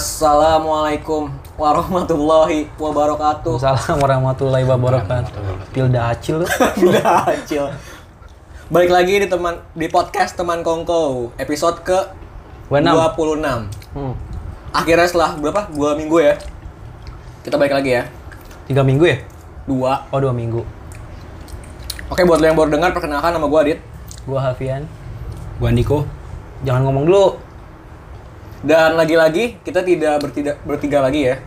Assalamualaikum warahmatullahi wabarakatuh. Assalamualaikum warahmatullahi wabarakatuh. Pilda acil lu. Udah acil. Nah, Balik lagi di teman di podcast teman Kongko episode ke Wenam. 26. Akhirnya setelah berapa? Dua minggu ya. Kita balik lagi ya. Tiga minggu ya? Dua. Oh dua minggu. Oke buat lo yang baru dengar perkenalkan nama gue Adit. Gua Hafian. Gua Niko. Jangan ngomong dulu. Dan lagi-lagi kita tidak bertiga, bertiga lagi ya.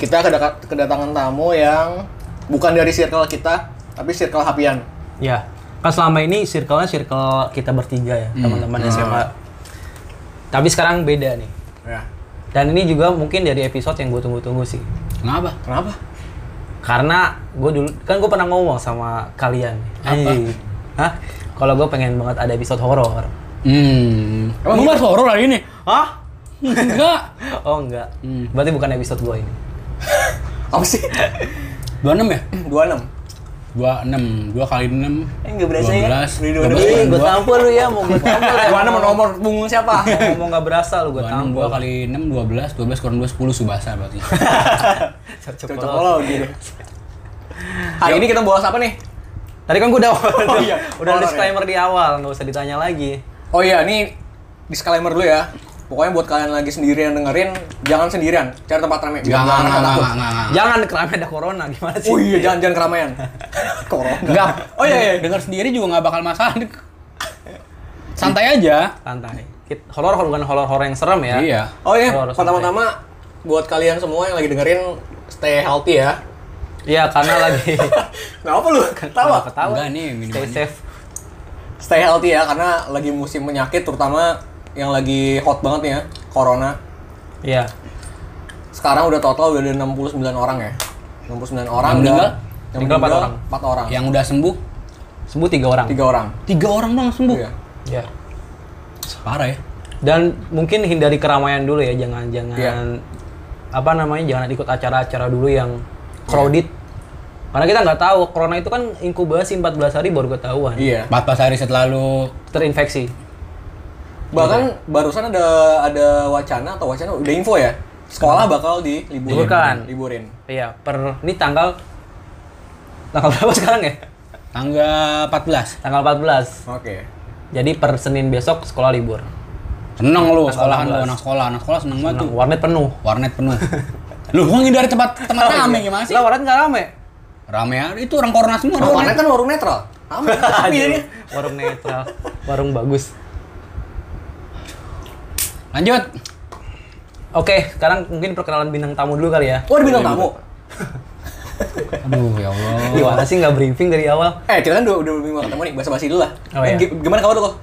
Kita kedaka- kedatangan tamu yang bukan dari circle kita, tapi circle Hapian. Ya. Kan selama ini circle-nya circle kita bertiga ya, teman-teman SMA. Tapi sekarang beda nih. Ya. Dan ini juga mungkin dari episode yang gue tunggu-tunggu sih. Kenapa? Kenapa? Karena gue dulu kan gue pernah ngomong sama kalian. Anjing. Hah? Kalau gue pengen banget ada episode horor. Hmm. Emang lu bahas horor hari ini? Hah? Enggak. Oh enggak. Berarti bukan episode gue ini. Apa sih? 26 ya? 26. 26. 2 kali 6. Eh, nggak berasa ya? 12. Udah Ih, 12 gue tampol lu ya, mau gue tampol ya. Gimana mau nomor punggung siapa? Ngomong nggak berasa lu gue 26, tampol. 2 kali 6, 12. 12 kurang 2, 10 subasa berarti. Cocok kalau gitu. Hari ini kita bahas apa nih? Tadi kan gue udah iya. udah Horor disclaimer di awal, nggak usah ditanya lagi. Oh iya, ini disclaimer dulu ya. Pokoknya buat kalian lagi sendirian dengerin, jangan sendirian. Cari tempat ramai. Enggak, enggak, enggak, enggak, enggak, enggak. Jangan keramai ada corona gimana sih? Oh iya, jangan jangan keramaian. Corona. Enggak. Oh iya, iya. Dengar sendiri juga enggak bakal masalah. Santai aja. Santai. Kit- Horor horor bukan horor horor yang serem ya. Iya. Oh iya, Horor, santai. pertama-tama buat kalian semua yang lagi dengerin stay healthy ya. Iya karena lagi Kenapa lu ketawa? ketawa. Enggak nih, Stay minumannya. safe. Stay healthy ya karena lagi musim penyakit terutama yang lagi hot banget nih ya, corona. Iya. Sekarang udah total udah ada 69 orang ya. 69 orang Yang meninggal? Yang Meninggal empat meninggal orang. Iya. 4 orang. Yang udah sembuh Sebut tiga orang. 3 orang. 3 orang doang sembuh. Iya. Iya. Parah ya. Dan mungkin hindari keramaian dulu ya, jangan jangan Iya. apa namanya jangan ikut acara-acara dulu yang crowded. Iya. Karena kita nggak tahu corona itu kan inkubasi 14 hari baru ketahuan. Iya. 14 hari setelah lu Terinfeksi. Bahkan barusan ada ada wacana atau wacana udah info ya. Sekolah bakal diliburin. Liburkan. Liburin. Iya, per ini tanggal tanggal berapa sekarang ya? tanggal 14. Tanggal 14. Oke. Jadi per Senin besok sekolah libur. Seneng lu sekolahan lu 14. anak sekolah, anak sekolah seneng banget Nah, tuh. warnet penuh. warnet penuh. Lu gua ngindari tempat tempat rame Iya, gimana sih? Lah warnet nggak rame. Rame ya, itu orang corona semua. Warung Warnet. Warnet kan warung netral. Aman. Tapi ini Aduh, warung netral, warung bagus. Lanjut. Oke, sekarang mungkin perkenalan bintang tamu dulu kali ya. Oh, ada bintang tamu. Aduh ya Iya. Allah. Gimana sih nggak briefing dari awal? Eh, kita kan udah udah minggu nggak ketemu nih, basa-basi dulu lah. Oh, Eh, iya. gi- Gimana kabar lu kok?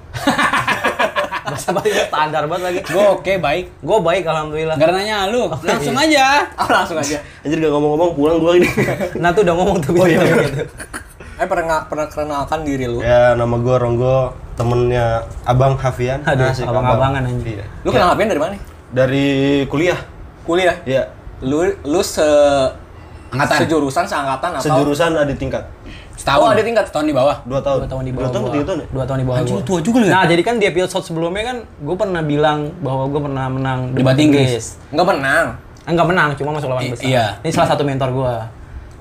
Bahasa Bali standar banget lagi. Gue oke baik. Gue baik alhamdulillah. Gak ada nanya lu, langsung aja. Ah, langsung aja. Anjir gak ngomong-ngomong pulang gua ini. Nah tuh udah ngomong tuh gitu. bintang tamu tuh. Eh, pernah nggak- pernah kenalkan diri lu? Iya. ya nama gua Ronggo, temennya Abang Hafian. Aduh, Asik, abang-abangan abang. anjing. Iya. Lu kenal Hapian dari mana? nih? Dari kuliah. Kuliah. Ya, Lu lu se Angkatan. sejurusan seangkatan atau sejurusan ada tingkat. Setahun. Oh, ada tingkat. Setahun di bawah. Dua tahun. Dua tahun di bawah. Dua tahun gua. atau tiga tahun ya? Dua tahun di bawah. Anjing, gua. tua juga lu ya? Nah, jadi kan di episode sebelumnya kan gue pernah bilang bahwa gue pernah menang Debat Inggris. Enggak menang. Enggak menang, cuma masuk lawan I- besar. iya. Ini salah satu mentor gue.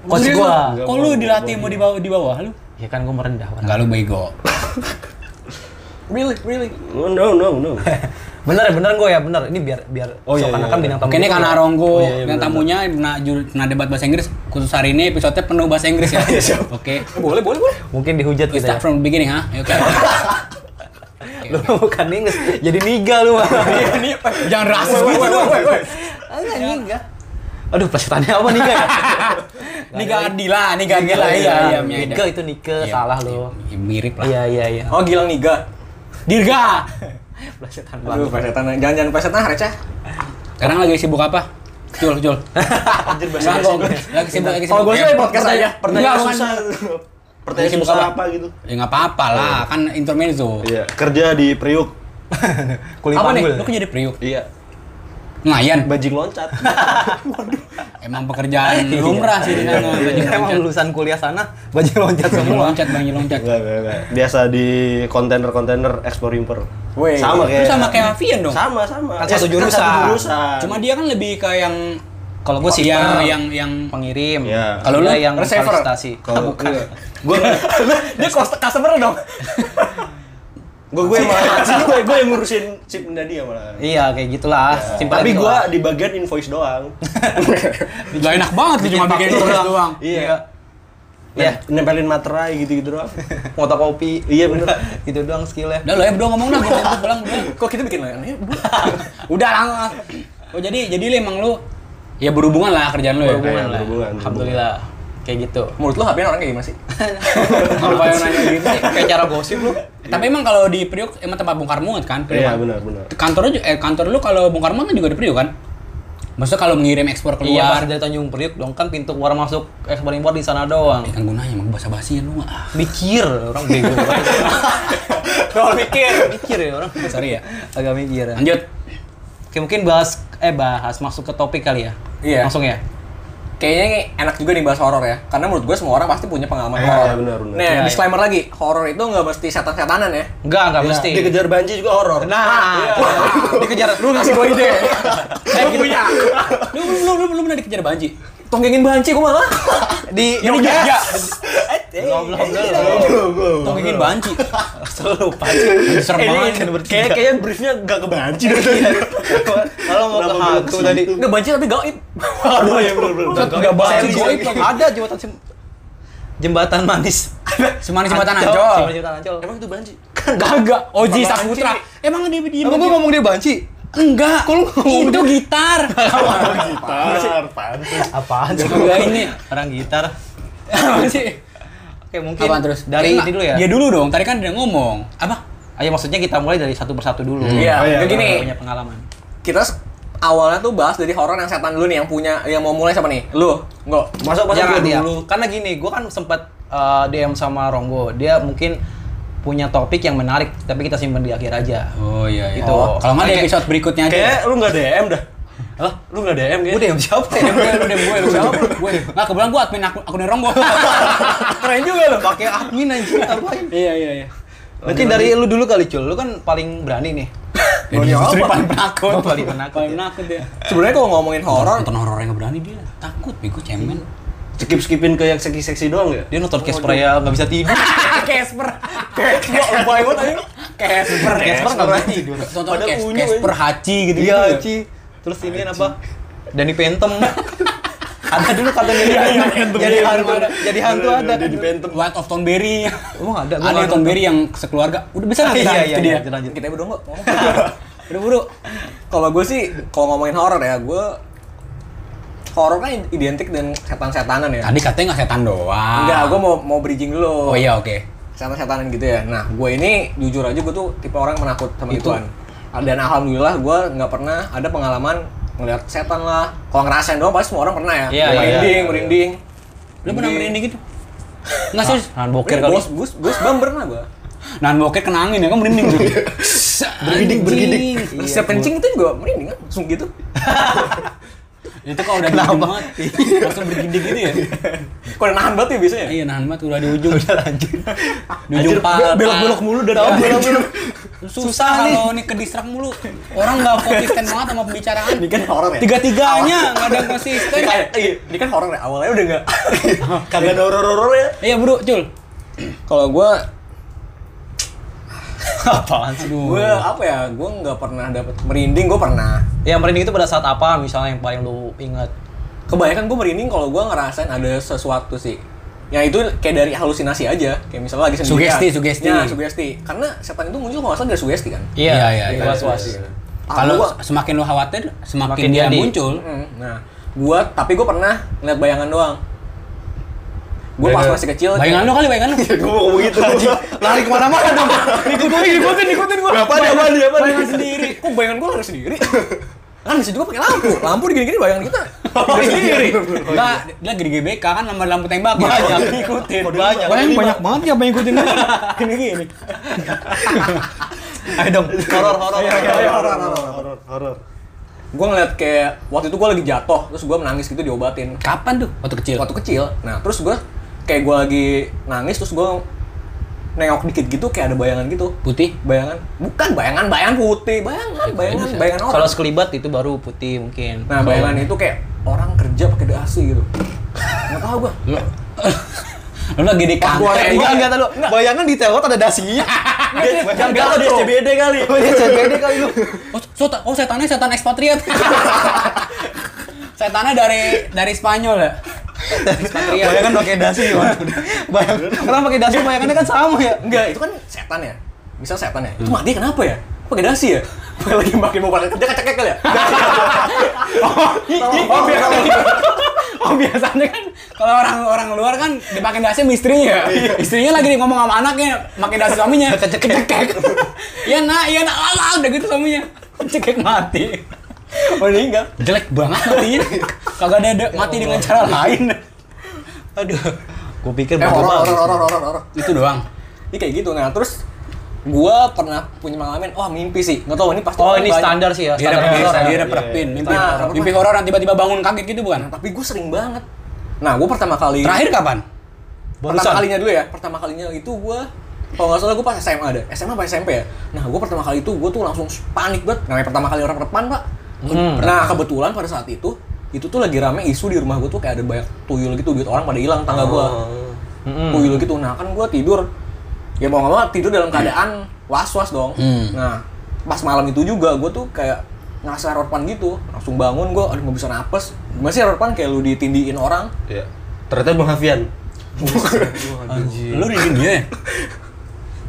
Coach Serius gue. lu? Kok lu dilatih mau di bawah di bawah lu? Ya kan gue merendah. Wan. Enggak lu bego. Really, really. Oh, no, no, no. Bener ya, bener gue ya, bener. Ini biar biar Oh, iya, seakan-akan iya, iya. bintang tamu. Oke ini gua karena tuh- Ronggo Oh, iya, iya, dan benar. tamunya pernah juru- pernah debat bahasa Inggris khusus hari ini episodenya penuh bahasa Inggris ya. Oke. Boleh, boleh, boleh. Mungkin dihujat We kita ya. start from the beginning ha. Oke. Lu bukan Inggris, jadi niga lu mah. Ini Jangan rasis Woi, woi, gitu woi, dong. woi, woi. Enggak niga. Aduh, pesertanya apa niga ya? Niga Adila, Niga Adila iya iya. Mia Niga Ida. itu niga, Iya, salah iya, lu. iya, Mirip lah. Iya, iya, iya. Oh, Gilang Niga. Dirga. Plesetan banget. Aduh, pesetan. Jangan-jangan pesetan receh. Sekarang lagi sibuk apa? Jul, Jul. Anjir bahasa Sekarang Inggris. gua- lagi sibuk lagi Kalau sibuk. gue sih Eh, main podcast aja. Pertanyaan Enggak, susah. gitu. Pertanyaan Sibuk susah apa? apa? gitu? Ya enggak apa-apa lah, kan intermezzo. Iya, kerja di Priuk. Kulit Apa nih? panggul. Lu kan jadi priuk. Iya. Lumayan. Bajing loncat. Emang pekerjaan lumrah sih di sana. Bajing Iya. Emang loncat. lulusan kuliah sana baju loncat Bajing semua. loncat, bajing loncat. Enggak, enggak, enggak. Biasa di kontainer-kontainer ekspor impor. Weh. Sama Lu kayak Itu sama kayak Hafian dong. Sama, sama. Kan satu Eh, jurusan. satu jurusan. Cuma dia kan lebih ke yang kalau gue sih yang Paper. yang yang Pengirim. Iya. Kalau lu yang kan- Receiver. fasilitasi. Kalau iya. Bukan. Gua dia cost customer dong. gue gue yang gue gue yang ngurusin chip dia ya malah. Iya kayak gitulah. Simpel Tapi gitu gue lah. di bagian invoice doang. gak enak banget lu cuma bikin terus doang. iya. Iya. Iya. Nempelin materai gitu-gitu doang. fotokopi. iya bener. Itu doang skillnya. Udah lo ya berdua ngomong dah, gue pulang udah. Kok kita bikin layanannya? Udah lah. nggak. Oh jadi jadi lu emang lu ya berhubungan lah kerjaan lu ya. Berhubungan Iya, lah. berhubungan, Alhamdulillah. Kayak gitu. Menurut lu HP orang kayak gimana sih? Apa yang nanya gitu? Nah, kayak cara gosip lu. Eh, Tapi emang kalau di Priuk emang tempat bongkar muat kan? Priuk kan? Iya benar benar. Kantornya ju- eh kantor lu kalau bongkar muat kan juga di Priuk kan? Maksudnya kalau mengirim ekspor Iya, pas keluar, dari Tanjung Priuk dong kan pintu keluar masuk ekspor impor di sana doang. ya kan gunanya emang bahasa basi lu nggak. Ah, Mikir orang bego. Kalau mikir. mikir ya orang. Sorry ya. Agak mikir. Ya. Lanjut. Oke, mungkin bahas eh bahas masuk ke topik kali ya. Iya. Langsung ya. Kayaknya enak juga nih bahas horor ya. Karena menurut gue semua orang pasti punya pengalaman Iya, horor. iya, benar, benar. Nah, Iya, disclaimer lagi, horor itu nggak mesti setan-setanan ya. Enggak, enggak Iya. mesti. Dikejar banji juga horor. Nah, Iya. dikejar Lu ngasih gue ide. Eh, gitu. Lu lu lu lu pernah dikejar banji? Tonggengin banci gue malah. di Yang ini Jogja. Goblok, Belum, belum, belum. Tongkengin banji. Selalu lupa. Serem Eh, banget. ini kayak kayaknya briefnya gak kebanci dari tadi. Iya. Kalau mau ke Kenapa gua hantu ke tadi. situ? Nggak banci tapi gaib. Aduh, ya benar benar. Nggak banci Serius, gaib. serius. ada jembatan Sim- jembatan manis. Semanis jembatan Ancol. Ancol. Semanis jembatan Ancol. Emang itu banji? Kagak. Oji Bang Saputra. Emang dia di Emang gua ngomong dia banci? Enggak. Itu gitar. Gitar, pantes. Apaan sih? Juga ini. Orang gitar. Apa sih? Oke, mungkin Apa terus? dari Enggak, ini dulu ya. Dia dulu dong. Tadi kan dia ngomong. Apa? Ayo maksudnya kita mulai dari satu persatu dulu. Hmm. Iya, Oh, iya, kayak gini. Punya pengalaman. Kita s- awalnya tuh bahas dari horor yang setan dulu nih yang punya yang mau mulai siapa nih? Lu, enggak. Masuk masuk Jangan gua ya. dulu. Karena gini, gue kan sempat uh, DM sama Ronggo. Dia mungkin punya topik yang menarik, tapi kita simpen di akhir aja. Oh iya Itu. itu. Kalau nggak di Gitu. Kayak- episode berikutnya aja. Kayak lu gak DM dah. Hah? Lu gak Gue DM kayaknya? DM siapa ya? Lu DM gue, lu DM gue, lu DM gue. Gue. Nggak kebetulan gue admin aku akun Ronggo. Keren juga lu. Pakai admin anjing ngapain? Iya, iya, iya. Nanti dari lu dulu kali, Cul. Lu kan paling berani nih. Jadi justru paling Oh, penakut. paling penakut, Paling ya. penakut dia. Sebenarnya kalau ngomongin horor, Nonton horor yang nggak berani dia. Takut, bego cemen. Skip-skipin ke yang seksi-seksi doang ya? Dia nonton Casper ya nggak bisa tidur. Casper. Casper lebay banget aja. Casper. Iya, Casper nggak bisa tidur. Nonton Padahal kes, unyu, kes ya. per haji gitu. Iya, Ci. Terus ini apa? Dani Phantom. ada dulu kata jadi hantu. Jadi hantu. Iya, Jadi hantu ada. Dia di pentem. White of Tonberry. Emang ada? Iya, Gua Ada nggak yang Tonberry yang sekeluarga. Udah bisa Iya, lah kita. iya, Itu iya. dia. Lanjut, lanjut. Kita berdua enggak. Udah buru. Kalau gue sih kalau ngomongin horor ya, gue horor kan identik dengan setan-setanan ya. Tadi katanya nggak setan doang. Enggak, gue mau mau bridging dulu. Kan. Oh iya oke. setan-setanan gitu ya. Nah, gue ini jujur aja gue tuh tipe orang yang menakut sama Itu. gituan. Dan alhamdulillah gue nggak pernah ada pengalaman ngeliat setan lah. Kalau ngerasain doang pasti semua orang pernah ya. Iya, iya, merinding, iya. merinding. Lu pernah merinding gitu? Nggak serius. Nahan Nah, boker kali. Bos, bus, bus bam pernah gue. Nahan boker kena angin ya, kan merinding tuh. Bergidik, bergidik. Setiap kencing itu juga merinding kan, langsung gitu. Itu kalau udah dingin banget, Iya. langsung bergidik gitu ya. Kok udah nahan banget ya biasanya. Iya, nahan banget udah di ujung. Udah lanjut. Di ujung Anjir, pala. belok-belok mulu dari Iya. awal. Susah kalau nih ke distrak mulu. Orang nggak konsisten banget sama pembicaraan. Ini kan horor ya. Tiga-tiganya nggak ada yang konsisten. Ini Eh, kan, iya. ini kan horor ya, awalnya udah nggak. Kagak ada horor-horor ya? Iya, Bro, Cul. Kalau gue, Apaan sih? Aduh. gue apa ya, gue nggak pernah dapet merinding, gue pernah. Yang merinding itu pada saat apa misalnya yang paling lu ingat? kebanyakan gue merinding kalau gue ngerasain ada sesuatu sih yang itu kayak dari halusinasi aja kayak misalnya lagi sendirian Sugesti, sugesti. ya sugesti karena setan itu muncul kalau nggak salah dari sugesti kan Iya, iya, iya. was was. Kalau Ah, gua- semakin lu khawatir, Makin semakin dia jadi. muncul. Mm, nah gue tapi gue pernah ngeliat bayangan doang gue pas Bayangan- masih kecil Bayangan lu kali, bayangan lu. Gue mau ngomong gitu. Lari kemana-mana dong. ikutin kan ikutin ikutin gue Apa ada apa ada apa ada? bayangan sendiri kok bayangan gue lari sendiri kan bisa juga pakai lampu lampu digini-gini bayangan kita lari sendiri Enggak, dia lagi di GBK kan sama lampu tembak banyak ikutin. Banyak. Banyak banyak banget ya yang ikutin. gini gini Ayo dong. Horor horor. Iya, iya, iya. Horor, horor, horor. gue ngeliat kayak waktu itu gue lagi jatuh terus gue menangis gitu diobatin Kapan tuh? Waktu kecil. Iya. waktu kecil nah terus gue kayak gue lagi nangis terus gue nengok dikit gitu kayak ada bayangan gitu Putih. bayangan bukan bayangan bayangan putih Iya, bayangan bayangan bayangan orang Kalau sekelibat itu baru putih mungkin. nah bayangan Oh. itu kayak orang kerja pakai dasi gitu nggak tahu gue Lu lagi di Gua kantor. Eh, nengok. Enggak, enggak. kata lu, bayangan di telot ada dasinya. Jangan galau di tuh. SCBD kali. CBD Iya, kali lu. Oh, setan- oh setannya setan ekspatriat. setannya dari dari Spanyol ya. Ekspatriat. Bayangan Iya, kan pakai dasi gimana? Bayang. Kenapa pakai dasi bayangannya kan sama ya? enggak itu kan setan ya misal setan ya Hmm. itu mati kenapa ya pakai dasi ya pakai lagi pakai mau kerja kecekek kali ya iya. Oh, iya, Oh biasanya kan kalau orang-orang luar kan dipakai dasi sama istrinya. Iya. istrinya lagi ngomong sama anaknya, pakai dasi suaminya. Kecekek. Iya nak, iya nak, Ah, ah, udah gitu suaminya. Kecekek mati. meninggal Jelek banget matinya. Kagak ada, ada mati dengan cara lain. Aduh, Gua eh pikir bakal horor bagus. horor horor horor horor itu doang. ini kayak gitu nah terus gua pernah punya pengalaman wah mimpi sih nggak tahu ini pasti Oh orang ini banyak. standar sih ya, Dia standar dapet horor dia ya. dapet Iya, pin. Mimpi Nah, horor. Mimpi horor yang tiba-tiba bangun kaget gitu bukan? tapi gue sering banget nah gue pertama Iya. kali Terakhir kapan? pertama kalinya dulu ya pertama kalinya itu gue kalau nggak salah gue pas SMA ada SMA apa SMP ya nah gue pertama kali itu gue tuh langsung panik banget namanya pertama kali orang depan pak Hmm. nah kebetulan pada saat itu itu tuh lagi rame isu di rumah gue tuh kayak ada banyak tuyul gitu duit orang pada hilang tangga gue Mm-mm. tuyul gitu nah kan gue tidur ya mau nggak mau tidur dalam keadaan was was dong Hmm. nah pas malam itu juga gue tuh kayak ngerasa erorpan gitu langsung bangun gue aduh nggak bisa napes gimana sih erorpan kayak lu ditindihin orang Iya. Ternyata Bang Hafian. Lu ningin dia ya?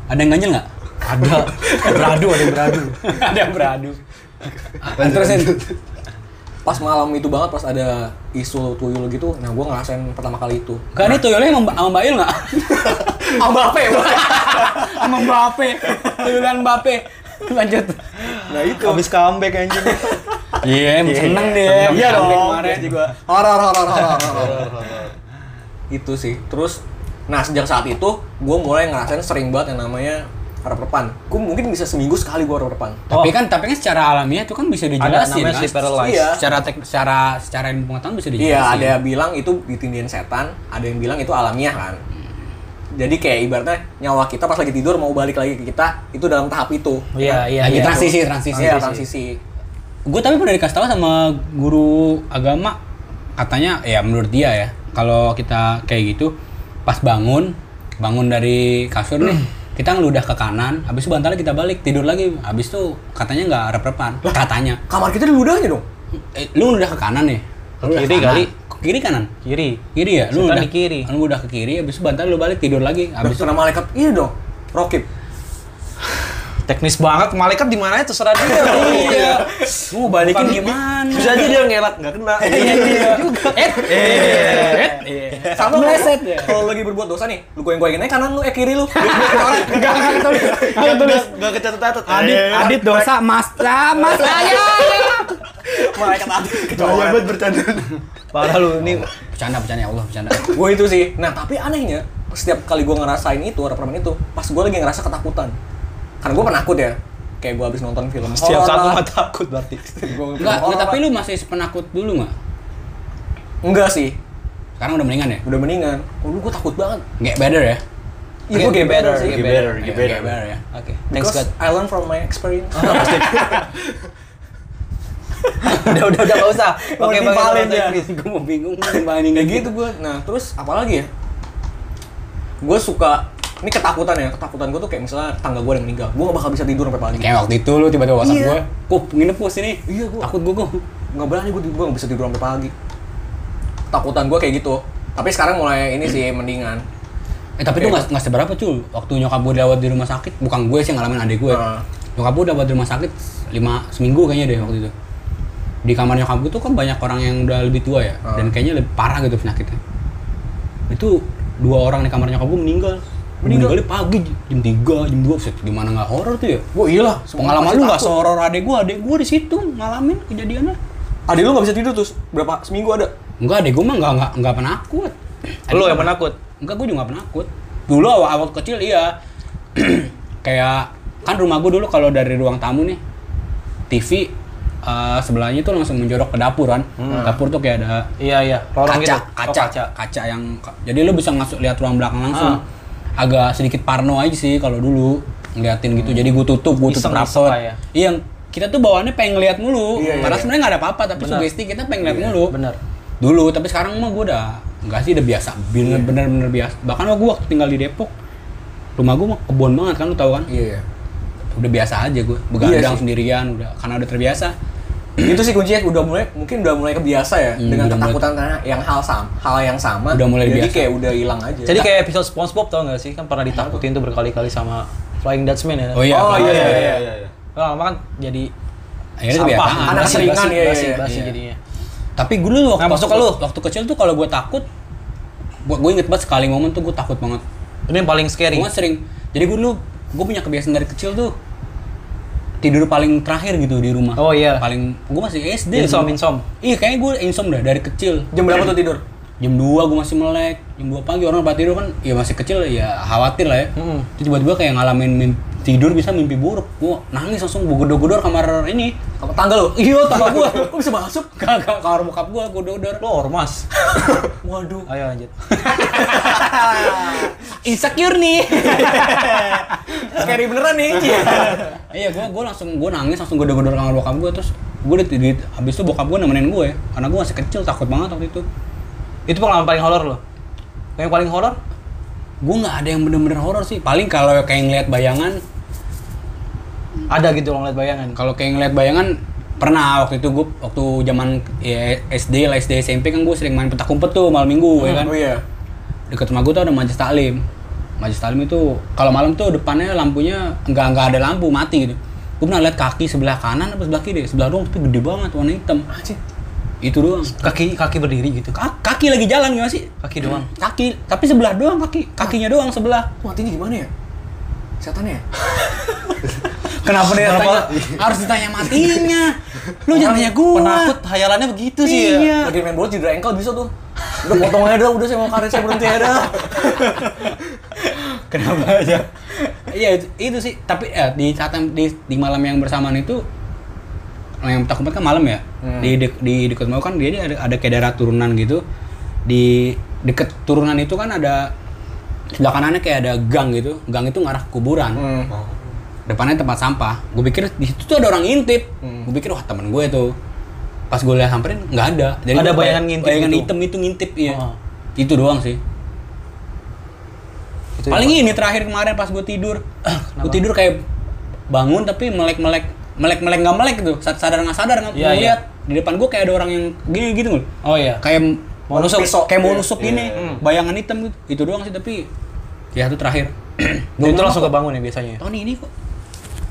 Ada yang ganjel nggak? Ada beradu ada yang beradu. Ada yang beradu. Ah, Dan terusin pas malam itu banget pas ada isu tuyul gitu nah gue ngerasain pertama kali itu Kan ini tuyulnya sama Mbak- sama Mbak Il nggak? sama apa ya Bang? Sama Mbappe. Tuyulan Mbappe. Lanjut. Nah itu. Habis comeback anjing. Iya, seneng Iya, dia. Iya Comeback dong. kemarin. Pasti gua. horor horor horor horor itu sih terus nah sejak saat itu gue mulai ngerasain sering banget yang namanya harapan gue mungkin bisa seminggu sekali gue harapan Tapi kan tapi kan secara alamiah itu kan bisa Ada dijelasin. namanya kan? sleep paralysis. Iya. Secara tek, secara secara ilmu pengetahuan bisa dijelasin. iya ada bilang itu ditindihin setan ada yang bilang itu alamiah kan jadi kayak ibaratnya nyawa kita pas lagi tidur mau balik lagi ke kita itu dalam tahap itu Iya iya. Lagi iya. transisi, transisi. Iya, Oh transisi. Gue tapi pernah dikasih tahu sama guru agama katanya ya menurut dia ya kalau kita kayak gitu pas bangun bangun dari kasur nih kita ngeludah ke kanan habis itu bantalnya kita balik tidur lagi habis itu katanya nggak rep-repan katanya kamar kita di ludahnya dong eh, lu udah ke kanan nih Ke kiri kali. Ke kiri kanan Kiri. kiri ya lu Setan udah di kiri. lu udah ke kiri habis itu bantal lu balik tidur lagi Habis habis itu kena malaikat ini dong. Rokib. Teknis banget malaikat di mana ya? terserah dia. iya lu mau balikin gimana Bisa aja dia ngelak nggak kena. Iya, eh eh eh Sama meleset ya. Kalau lagi berbuat dosa nih, lu goyang-goyangin aja kanan lu eh kiri lu. Enggak enggak tulis. Enggak tulis. Enggak kecatat-catat. Adit, Eh, Adit dosa, mas, ah, mas, saya. malaikat adil. Bahaya banget Iya, bercanda. Parah lu ini Bercanda, bercanda ya Allah, bercanda. Gue itu sih. Nah, tapi anehnya setiap kali gue ngerasain itu, rekaman itu, pas gue lagi ngerasa ketakutan. Karena gue penakut ya. Kayak gue abis nonton film horor setiap saat lu lah. mah takut berarti. Gua film Enggak, horor enggak, tapi lah. lu masih penakut dulu nggak? Enggak sih. Sekarang udah mendingan ya? Udah mendingan. Oh, lu gue takut banget. Get better ya? Iya, gue Get better, geber sih. get better, Ya, get better. Get better ya. Oke. Thanks Because God. I learn from my experience. udah udah udah enggak usah. Mau Pakai dipalin pakai ya. teknis. Gue mau bingung banding kayak gitu gue nah terus apalagi ya gue suka ini ketakutan ya ketakutan gue tuh kayak misalnya tangga gue yang meninggal gue gak bakal bisa tidur sampai pagi Kayak waktu itu lu tiba-tiba WhatsApp Iya. gue, "Kup, nginep gue sini." Iya, gua. Takut gue, gue. nggak berani gue gue gak bisa tidur sampai pagi ketakutan gue kayak gitu tapi sekarang mulai ini sih mendingan Eh, Iya. tapi itu nggak nggak seberapa cuy. Waktu nyokap gue dirawat di rumah sakit, bukan gue sih yang ngalamin adik gue. Ah. Nyokap gue dirawat di rumah sakit lima seminggu kayaknya deh waktu itu. Di kamar nyokap gue tuh kan banyak orang yang udah lebih tua ya, Ah. dan kayaknya lebih parah gitu penyakitnya. Itu dua orang di kamar nyokap gue meninggal. Meninggal? Meninggalnya pagi jam 3, jam 2, Buset, gimana nggak horor tuh ya? gue iyalah Pengalaman lu nggak sehoror adek gue, adek gue di situ ngalamin kejadiannya. ada lu gak bisa tidur terus berapa seminggu ada Enggak, adek gue mah nggak nggak nggak penakut. Lu yang penakut. Enggak, gue juga nggak penakut. Dulu awal, awal kecil iya. Kayak kan rumah gue dulu kalau dari ruang tamu nih TV eh, sebelahnya tuh langsung menjorok ke dapur kan. Hmm. Dapur tuh kayak ada Iya iya, kaca, lorong gitu. Oh, kaca, kaca, yang jadi lu bisa masuk lihat ruang belakang langsung. Ah. Agak sedikit parno aja sih kalau dulu ngeliatin gitu. Jadi gua tutup, gua tutup Iseng-iseng rapor. lah ya. Iya, kita tuh bawaannya pengen ngeliat mulu. Iya, iya, Padahal iya. sebenarnya nggak ada apa-apa, tapi Benar. sugesti kita pengen ngeliat mulu. Bener. Dulu, tapi sekarang mah gua udah nggak sih udah biasa, Iya. bener- bener-bener biasa. Bahkan mah gua waktu tinggal di Depok, rumah gua mah kebon banget kan lu tahu kan? Iya. Udah biasa aja gua, begadang sih. sendirian udah karena udah terbiasa. iya. itu sih kuncinya udah mulai mungkin udah mulai kebiasa ya Hmm, dengan udah mulai- ketakutan karena yang hal sama hal yang sama Udah mulai jadi biasa. kayak udah hilang aja Jadi kayak episode SpongeBob tau gak sih? Kan pernah ditakutin tuh berkali-kali sama Flying Dutchman ya. Oh iya, oh kalau- iya iya iya, iya, iya. Lama-lama kan jadi akhirnya sampah. kebiasaan. Anak Basi, seringan, basi, iya, iya, basi, iya. basi Iya. jadinya. Tapi gue dulu waktu, Nggak masuk ke lu? Nah, waktu kecil tuh kalau gue takut, gue gue inget banget sekali momen tuh gue takut banget. Ini yang paling scary. Gue sering, jadi gue dulu gue punya kebiasaan dari kecil tuh tidur paling terakhir gitu di rumah. Oh, iya. Paling gue masih SD. Insom, dulu. insom. Iya kayaknya gue insom dah dari kecil. jam berapa tuh tidur Jam 2 gue masih melek, jam 2 pagi orang pada tidur kan ya masih kecil ya khawatir lah ya. Mm-mm. Terus tiba-tiba kayak ngalamin mimpi- tidur bisa mimpi buruk. Gue nangis langsung gue gedor-gedor kamar ini. apa tanggal lo Iya, tambah gue. kok bisa masuk Kagak kamar bokap gue gue gedor. Lo ormas. waduh Ayo lanjut. Insecure nih. scary beneran nih Iya, gue gue langsung gue nangis langsung gue gedor kamar bokap gue terus gue di, di- habis itu bokap gue nemenin gue karena gue masih kecil takut banget waktu itu. Itu pengalaman paling horor lo. Yang paling horor? Gue nggak ada yang bener-bener horor sih. Paling kalau kayak ngeliat bayangan, Ada gitu lo ngeliat bayangan. kalau kayak ngeliat bayangan pernah waktu itu gue waktu zaman ya, SD lah SD SMP kan gue sering main petak umpet tuh malam minggu ya kan. oh iya Deket rumah gue tuh ada majelis taklim. Majelis taklim itu kalau malam tuh depannya lampunya nggak nggak ada lampu mati gitu. Gue pernah lihat kaki sebelah kanan apa sebelah kiri, sebelah doang tapi gede banget warna hitam. Anjing. Itu doang. Kaki kaki berdiri gitu. Ka- kaki lagi jalan gimana sih? Kaki doang. Kaki, tapi sebelah doang kaki. Kakinya doang sebelah. matinya gimana ya setannya ya Kenapa dia Kenapa? tanya- harus ditanya matinya? Lu jangan tanya gua. Penakut hayalannya begitu sih ya. Iya. lagi main bola cedera engkel bisa tuh udah potong aja dah udah saya mau karir saya berhenti aja dah Kenapa aja? Iya itu, itu sih. Tapi eh, di saat yang- di, di malam yang bersamaan itu yang petak umpet kan malam ya. Hmm. Di dek- di dekat mau kan dia ada ada kayak daerah turunan gitu. Di deket turunan itu kan ada sebelah kanannya kayak ada gang gitu. Gang itu ngarah ke kuburan. hmm. depannya tempat sampah gue pikir di situ tuh ada orang ngintip Hmm. gue pikir wah temen gue tuh pas gue lihat samperin nggak ada Ada bayangan gua kayak- ngintip bayangan gitu? hitam itu ngintip iya Oh. itu doang sih Itu paling yang- ini terakhir kemarin pas gue tidur gue tidur kayak bangun tapi melek melek melek melek nggak melek gitu Sa- sadar nggak sadar nggak Iya, ngeliat. iya. di depan gue kayak ada orang yang gini gitu loh Oh iya. kayak Mau nusuk. Hmm. pisau, kayak mau nusuk Iya. gini bayangan hitam gitu. itu doang sih tapi ya itu terakhir Dan itu langsung kebangun ya biasanya. ya? Tony ini kok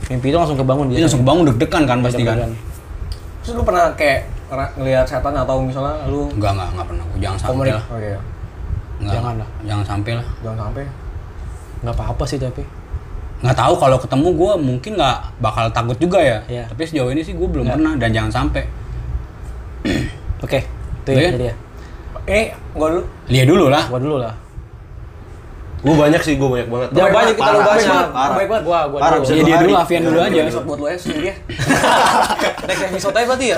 Mimpi itu langsung kebangun dia biasanya. langsung bangun deg-degan kan pasti kan terus lu pernah kayak ngera- ngelihat setan atau misalnya lu Enggak, enggak, enggak pernah. Jangan sampai komunik lah. oh iya Enggak, Jangan lah. Jangan sampai lah. jangan sampai Enggak apa-apa sih tapi. Nggak tahu kalau ketemu gue mungkin nggak bakal takut juga ya. Iya. Tapi sejauh ini sih gue belum Nggak. pernah dan jangan sampai. Oke, itu ya Iya. jadi ya. eh gua dulu Lihat dulu lah. Gua dulu lah. Gue banyak sih, gue banyak banget. Jangan banyak, kita lu Parah, banyak. banget, parah. baik banget. Gua gua Parah, dulu. bisa Ya, dia Satu dulu, hari. Avian dulu aja. Episode buat lu aja sendiri ya Next episode aja berarti ya.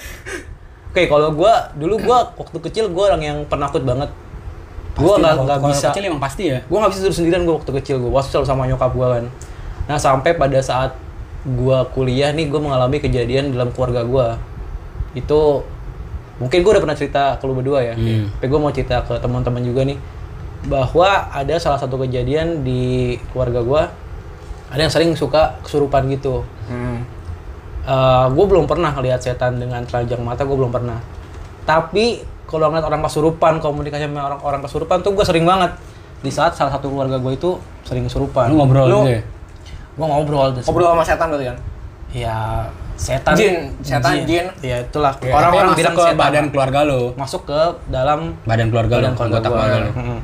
Oke, kalau gua dulu gua waktu kecil gua orang yang penakut banget. Gua Pasti nggak lah, nggak Iya, kalau bisa. Kecil emang pasti ya. gue nggak bisa tidur sendirian gue waktu kecil gue waspada sama nyokap gue kan nah sampai pada saat gue kuliah nih gue mengalami kejadian dalam keluarga gue itu mungkin gue udah pernah cerita ke lu berdua ya Hmm. tapi gue mau cerita ke teman-teman juga nih bahwa ada salah satu kejadian di keluarga gue ada yang sering suka kesurupan gitu Hmm. gue Eh, belum pernah lihat setan dengan telanjang mata gue belum pernah tapi kalau ngeliat orang kesurupan komunikasi sama orang-orang kesurupan tuh gue sering banget di saat salah satu keluarga gue itu sering kesurupan Lu ngobrol Lu- gitu ya. gue ngobrol terus ngobrol sama setan berarti kan ya setan Jin, setan, jin. ya itulah Ya, orang-orang tapi bilang masuk ke setan badan keluarga lu. masuk ke dalam Badan keluarga lu, badan keluarga anggota gua. keluarga lu. Mm-mm.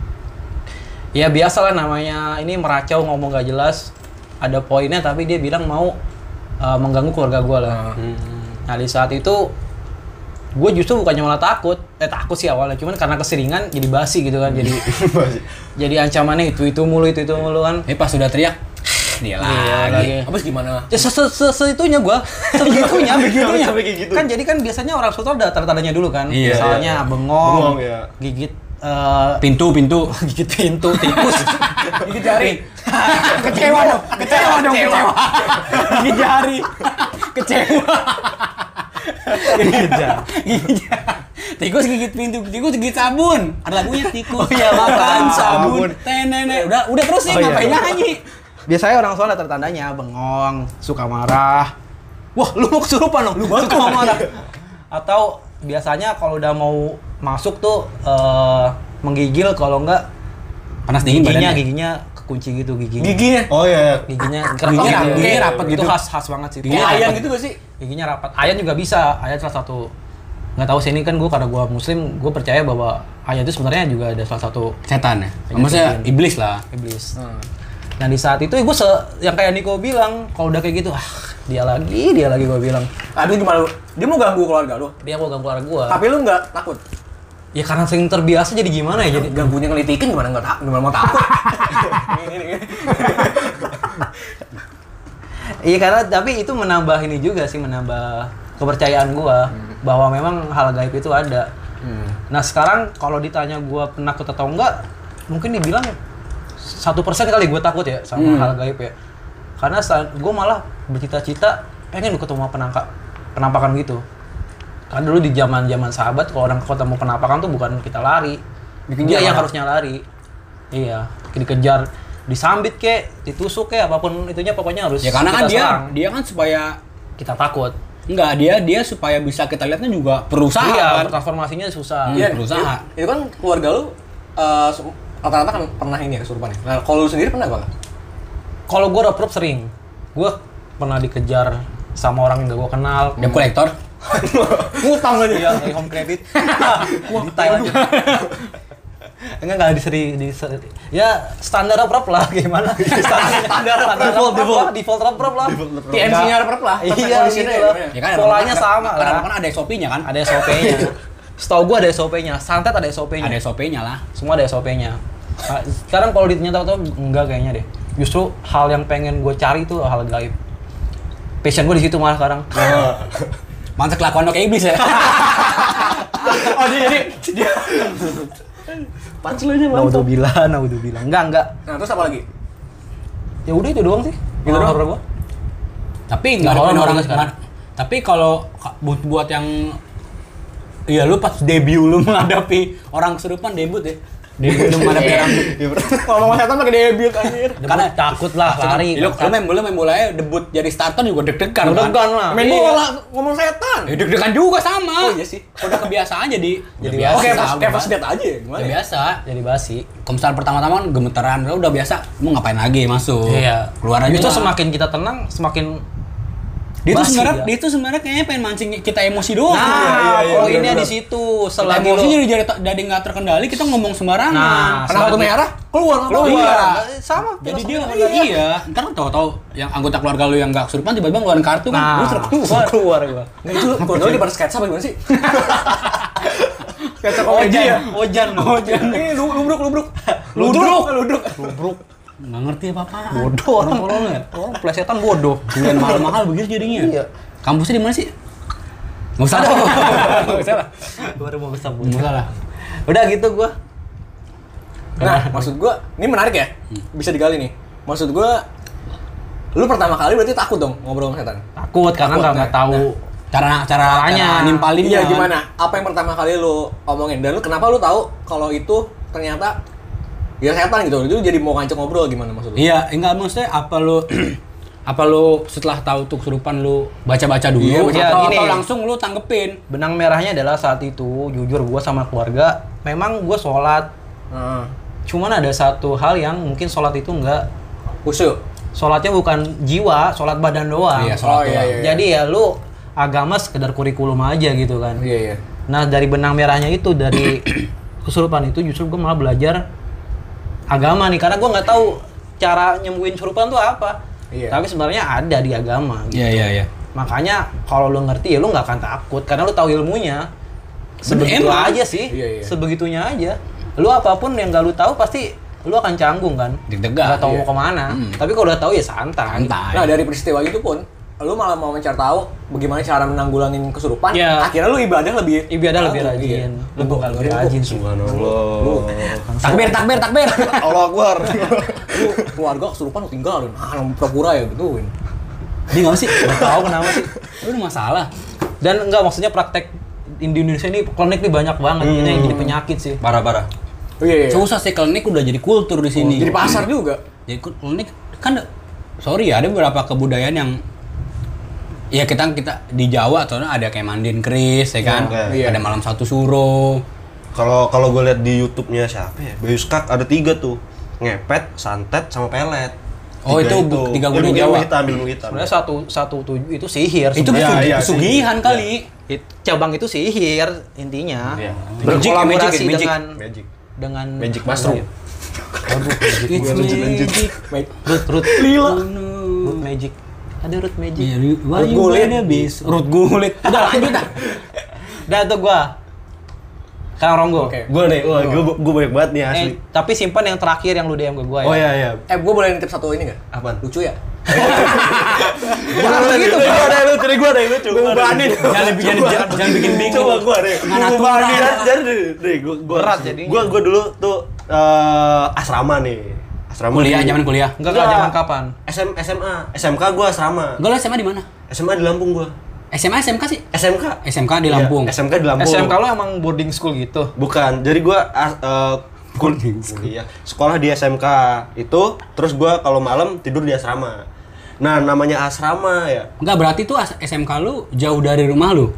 ya biasalah namanya ini meracau ngomong gak jelas ada poinnya tapi dia bilang mau uh, mengganggu keluarga gue lah nah di saat itu gue justru bukannya malah takut eh takut sih awalnya cuman karena keseringan jadi basi gitu kan jadi jadi ancamannya itu itu mulu itu itu mulu kan Tapi pas sudah teriak, Iya, dia lagi. lagi. Habis gimana? Ya se se se seitunya gua, sebegitunya, begitunya. Sampai kayak gitu. Kan jadi kan biasanya orang soto ada tanda-tandanya dulu kan. Iya. Misalnya bengong, Bengong, iya. gigit eh, Pintu, pintu. gigit pintu, tikus, Gigit jari. kecewa dong, kecewa dong, kecewa. Gigit jari, kecewa. Gigit jari. tikus gigit pintu, tikus gigit sabun. Ada lagunya tikus. iya, Oh makan makan sabun. sabun. Tenene. Udah, udah terus nih Oh, iya. ngapain nyanyi? Biasanya orang soal ada tanda-tandanya bengong, suka marah. Wah, lu mau kesurupan dong, lu suka marah. Atau biasanya kalau udah mau masuk tuh eh, menggigil kalau enggak Panas dingin giginya badannya. giginya kekunci gitu giginya Giginya. Oh iya. giginya Giginya kerapet rapat, giginya rapat gitu. itu khas khas banget sih Kayak Iya, ayam apa? gitu gak sih? giginya rapat ayat juga bisa ayat salah satu nggak tahu sih ini kan gue karena gue muslim gue percaya bahwa ayat itu sebenarnya juga ada salah satu Setan ya. Maksudnya iblis lah. iblis dan di saat itu gue yang kayak Niko bilang kalau udah kayak gitu ah dia lagi dia lagi gue bilang Aduh gimana lu? Dia mau ganggu keluarga lu. dia mau ganggu keluarga gue Tapi lu nggak takut? ya karena sering terbiasa jadi gimana ya jadi Ganggunya ngelitikin gimana nggak tak? Gimana mau takut? Iya karena tapi itu menambah ini juga sih menambah kepercayaan gua bahwa memang hal gaib itu ada. Nah sekarang kalau ditanya gua penakut atau enggak, mungkin dibilang satu persen kali gua takut ya sama hal gaib ya. Karena saat gua malah bercita-cita pengen ketemu penangka penampakan gitu. Karena dulu di zaman zaman sahabat kalau orang ketemu penampakan tuh bukan kita lari, dia yang harusnya lari. Iya, dikejar, disambit kek, ditusuk kek, apapun itunya pokoknya harus Ya karena kan kita dia serang. dia kan supaya kita takut. enggak dia dia supaya bisa kita lihatnya juga perusahaan. iya, kan? Hmm. transformasinya susah. Iya, berusaha. Itu kan keluarga lu eh, se- rata-rata kan pernah ini ya kesurupan ya. Nah, kalau lu sendiri pernah gak? Kalau gua reprove sering, gua pernah dikejar sama orang yang gak gua kenal. Debt collector. Ngutang aja. Iya, dari home credit. Detail aja. Enggak enggak diseri di ya standar reprove lah gimana? Standar standar default default default reprove lah. TMC-nya reprove lah, terms and Iya, condition-nya gitu ya, lah. gimana? Ya kan ada Polanya rumah- sama Karena lah. kan ada SOP-nya kan? Ada SOP-nya. Setahu gua ada SOP-nya, santet ada SOP-nya. Ada SOP-nya lah. semua ada SOP-nya. Nah, Sekarang kalau ditanya tahu-tahu enggak kayaknya deh. Justru hal yang pengen gue cari itu hal gaib. Passion gue di situ malah sekarang. Mantap kelakuan lo kayak iblis ya. Oh dia jadi dia. Pancelannya mantap. Naudzubillah, naudzubillah. Enggak, enggak. Nah, terus apa lagi? Ya udah itu doang sih. Gitu doang? horor gua. tapi nggak Horor ada orang banget sekarang. sekarang. Tapi kalau ka- buat buat yang Iya lu pas debut lu menghadapi orang kesurupan debut ya. Debut lu menghadapi orang Iya. Kalau mau setan pakai debut anjir. Karena takut lah lari. iya, Lu lu main bola main bola ya debut jadi starter juga deg-degan. kan? Deg-degan lah. Main Iya. bola ngomong setan. Ya deg-degan juga sama. Oh iya sih. Udah kebiasaan jadi. Jadi Udah Oke, sama, pas kayak kan? pas lihat aja ya, Udah gimana? ya? biasa. Jadi basi. Kalau misalnya pertama-tama kan gemeteran, lu udah biasa, mau ngapain lagi masuk? Keluar aja. Iya. Justru lah. semakin kita tenang, semakin dia tuh basi sebenarnya dia. dia tuh sebenarnya kayaknya pengen mancing kita emosi ya? doang. Nah, Iya, iya, iya, kalau bener. ini di situ Kita selagi emosi lu jadi gitu jadi jadi nggak terkendali, kita ngomong sembarangan. Nah, Kena kartu merah, keluar apa? Keluar. Iya. Iya, sama. jadi filosofi dia yang iya. ada. ntar tahu-tahu yang anggota keluarga lu yang nggak kesurupan tiba-tiba ngeluarin kartu kan, Nah, lu keluar, terkeluar. keluar gua. Nggak itu keluarga lu di pada sketsa apa gimana sih? sketsa komedi ya. Ojan, ojan, ojan. Ini lu- lubruk lubruk. Ludruk. Ludruk. Bobrok. Nggak ngerti apa-apa. Bodoh orang tolong ya. Orang plesetan bodoh. Kuliah mahal-mahal begitu jadinya. Iya. Kampusnya di mana sih? Nggak usah lah. Nggak usah lah. Baru mau kesambung. Nggak usah lah. Udah gitu gua. Nah, maksud gua ini menarik ya. Bisa digali nih. Maksud gua lu pertama kali berarti takut dong ngobrol sama setan. Takut karena Takut, nggak nah, ya? nggak tahu. Cara cara Caranya. cara nimpalinnya Iya kan. gimana? Apa yang pertama kali lu omongin dan lu kenapa lu tahu kalau itu ternyata ya setan gitu. Itu jadi mau ngajak ngobrol gimana maksud lu? Iya, enggak maksudnya apa lu apa lu setelah tahu tuh kesurupan lu baca-baca dulu Iya, iya, atau, gini. atau langsung lu tanggepin? Benang merahnya adalah saat itu jujur gua sama keluarga memang gua sholat. Heeh. Cuman ada satu hal yang mungkin sholat itu nggak Khusyuk. sholatnya bukan jiwa, sholat badan doang. Iya, sholat Oh, iya, doang. iya. Jadi ya lu agama sekedar kurikulum aja gitu kan. Iya iya. Nah dari benang merahnya itu dari kesurupan itu justru gue malah belajar agama nih karena gue nggak tahu cara nyembuhin kesurupan tuh apa. Iya. Tapi sebenarnya ada di agama. gitu. Iya, iya, iya. Makanya kalau lu ngerti ya lu nggak akan takut karena lu tahu ilmunya. Sebegitu Emang. aja sih. Iya, iya. Sebegitunya aja. Lu apapun yang gak lu tahu pasti lu akan canggung kan Deg-degan, nggak tahu iya. mau kemana tapi kalau udah tahu ya santai santai Nah dari peristiwa itu pun lu malah mau mencari tahu bagaimana cara menanggulangin kesurupan. Iya. Akhirnya lu ibadah lebih Ibadah lebih iya. rajin. Lebih Lebih rajin sih. Subhanallah. Takbir, takbir, takbir. Allah Akbar. lu keluarga kesurupan lu tinggalin. Ah, lu pura-pura ya gituin. dia nggak sih nggak tahu kenapa sih lu ada masalah dan enggak maksudnya praktek di Indonesia ini klinik nih banyak banget ini yang jadi penyakit sih Parah-parah. Oh, iya, iya. susah sih klinik udah jadi kultur di sini Oh, Jadi pasar juga. jadi kul- klinik kan sorry ya ada beberapa kebudayaan yang ya kita kita di Jawa soalnya ada kayak mandiin keris ya kan Iya. ada malam satu suro Kalau kalau gue lihat di YouTube-nya siapa ya? Bayu Skak ada tiga tuh. Ngepet, santet, sama pelet. Oh, itu bu- tiga Eh, budaya ilmu- Jawa. Ilmu hitam, ilmu hitam. sebenarnya satu satu tujuh itu sihir sebenarnya. itu Iya, pesugi- iya, pesugihan sih. kali It- cabang itu sihir intinya Iya. berkolaborasi Magic, magic, dengan Magic. dengan Iya. Magic mushroom. It's Lanjut, lanjut. Baik. root root Lila. root magic ada root magic Iya, Ru- why Root you gulit. gotta be so- Ruth Gulit. udah lanjut dah udah tuh gua Kang Ronggo Oke. Gue nih, wah, gue gue banyak banget nih asli. eh, tapi simpan yang terakhir yang lu DM ke gua ya Oh iya iya. Eh, gua boleh nitip satu ini nggak? Apaan? Lucu ya? Bukan gitu. Gue ada yang lucu, gue ada yang lucu. Gue banin. Jangan bikin- jangan- jangan bikin bingung. Coba gue ada. Mana Gue tuh? banin. Jadi deh, gue gue Berat jadinya. Gue gue dulu tuh eh, asrama nih. Asrama. kuliah di- zaman kuliah enggak enggak Enggak. zaman kapan SM, SMA, SMK gue asrama. gue lu SMA di mana SMA di Lampung gue. SMA SMK sih SMK. SMK di Iya, Lampung SMK di Lampung. SMK lu emang boarding school gitu Bukan, jadi gue uh, kul- kuliah iya, sekolah di SMK itu, terus gua kalau malam tidur di asrama. Nah namanya asrama ya, Enggak berarti tuh as- SMK lu jauh dari rumah lu.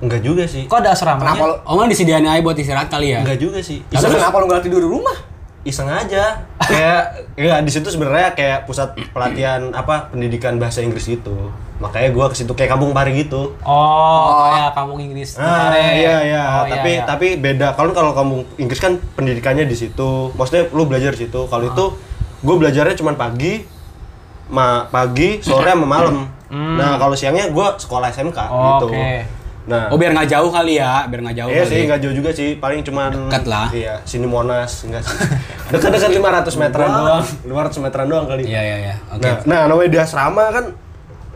enggak juga sih, kok ada asramanya Kenapa lu? Oh, malah disediain aja buat istirahat kali ya. enggak juga sih, Iya, Terus iseng, kenapa lu nggak tidur di rumah? iseng aja. kayak ya di situ sebenarnya kayak pusat pelatihan apa pendidikan bahasa Inggris gitu. Makanya gua ke situ kayak kampung pari gitu. oh, kayak kampung Inggris Ah, Tare. iya iya, Oh, tapi iya. tapi beda. Kalau kalau kamu Inggris kan pendidikannya di situ. Maksudnya lu belajar di situ. Kalau itu gue belajarnya cuma pagi, ma pagi, sore sama malam. Nah, kalau siangnya gue sekolah SMK gitu. Oke. Nah, Oh, biar nggak jauh kali ya, biar nggak jauh Iya kali. sih, nggak jauh juga sih, paling cuman Dekat lah. Iya, sini Monas, enggak sih. Dekat-dekat 500 meteran doang. 500 meteran doang kali. Iya, iya, iya. Oke. Nah, nah, namanya di asrama kan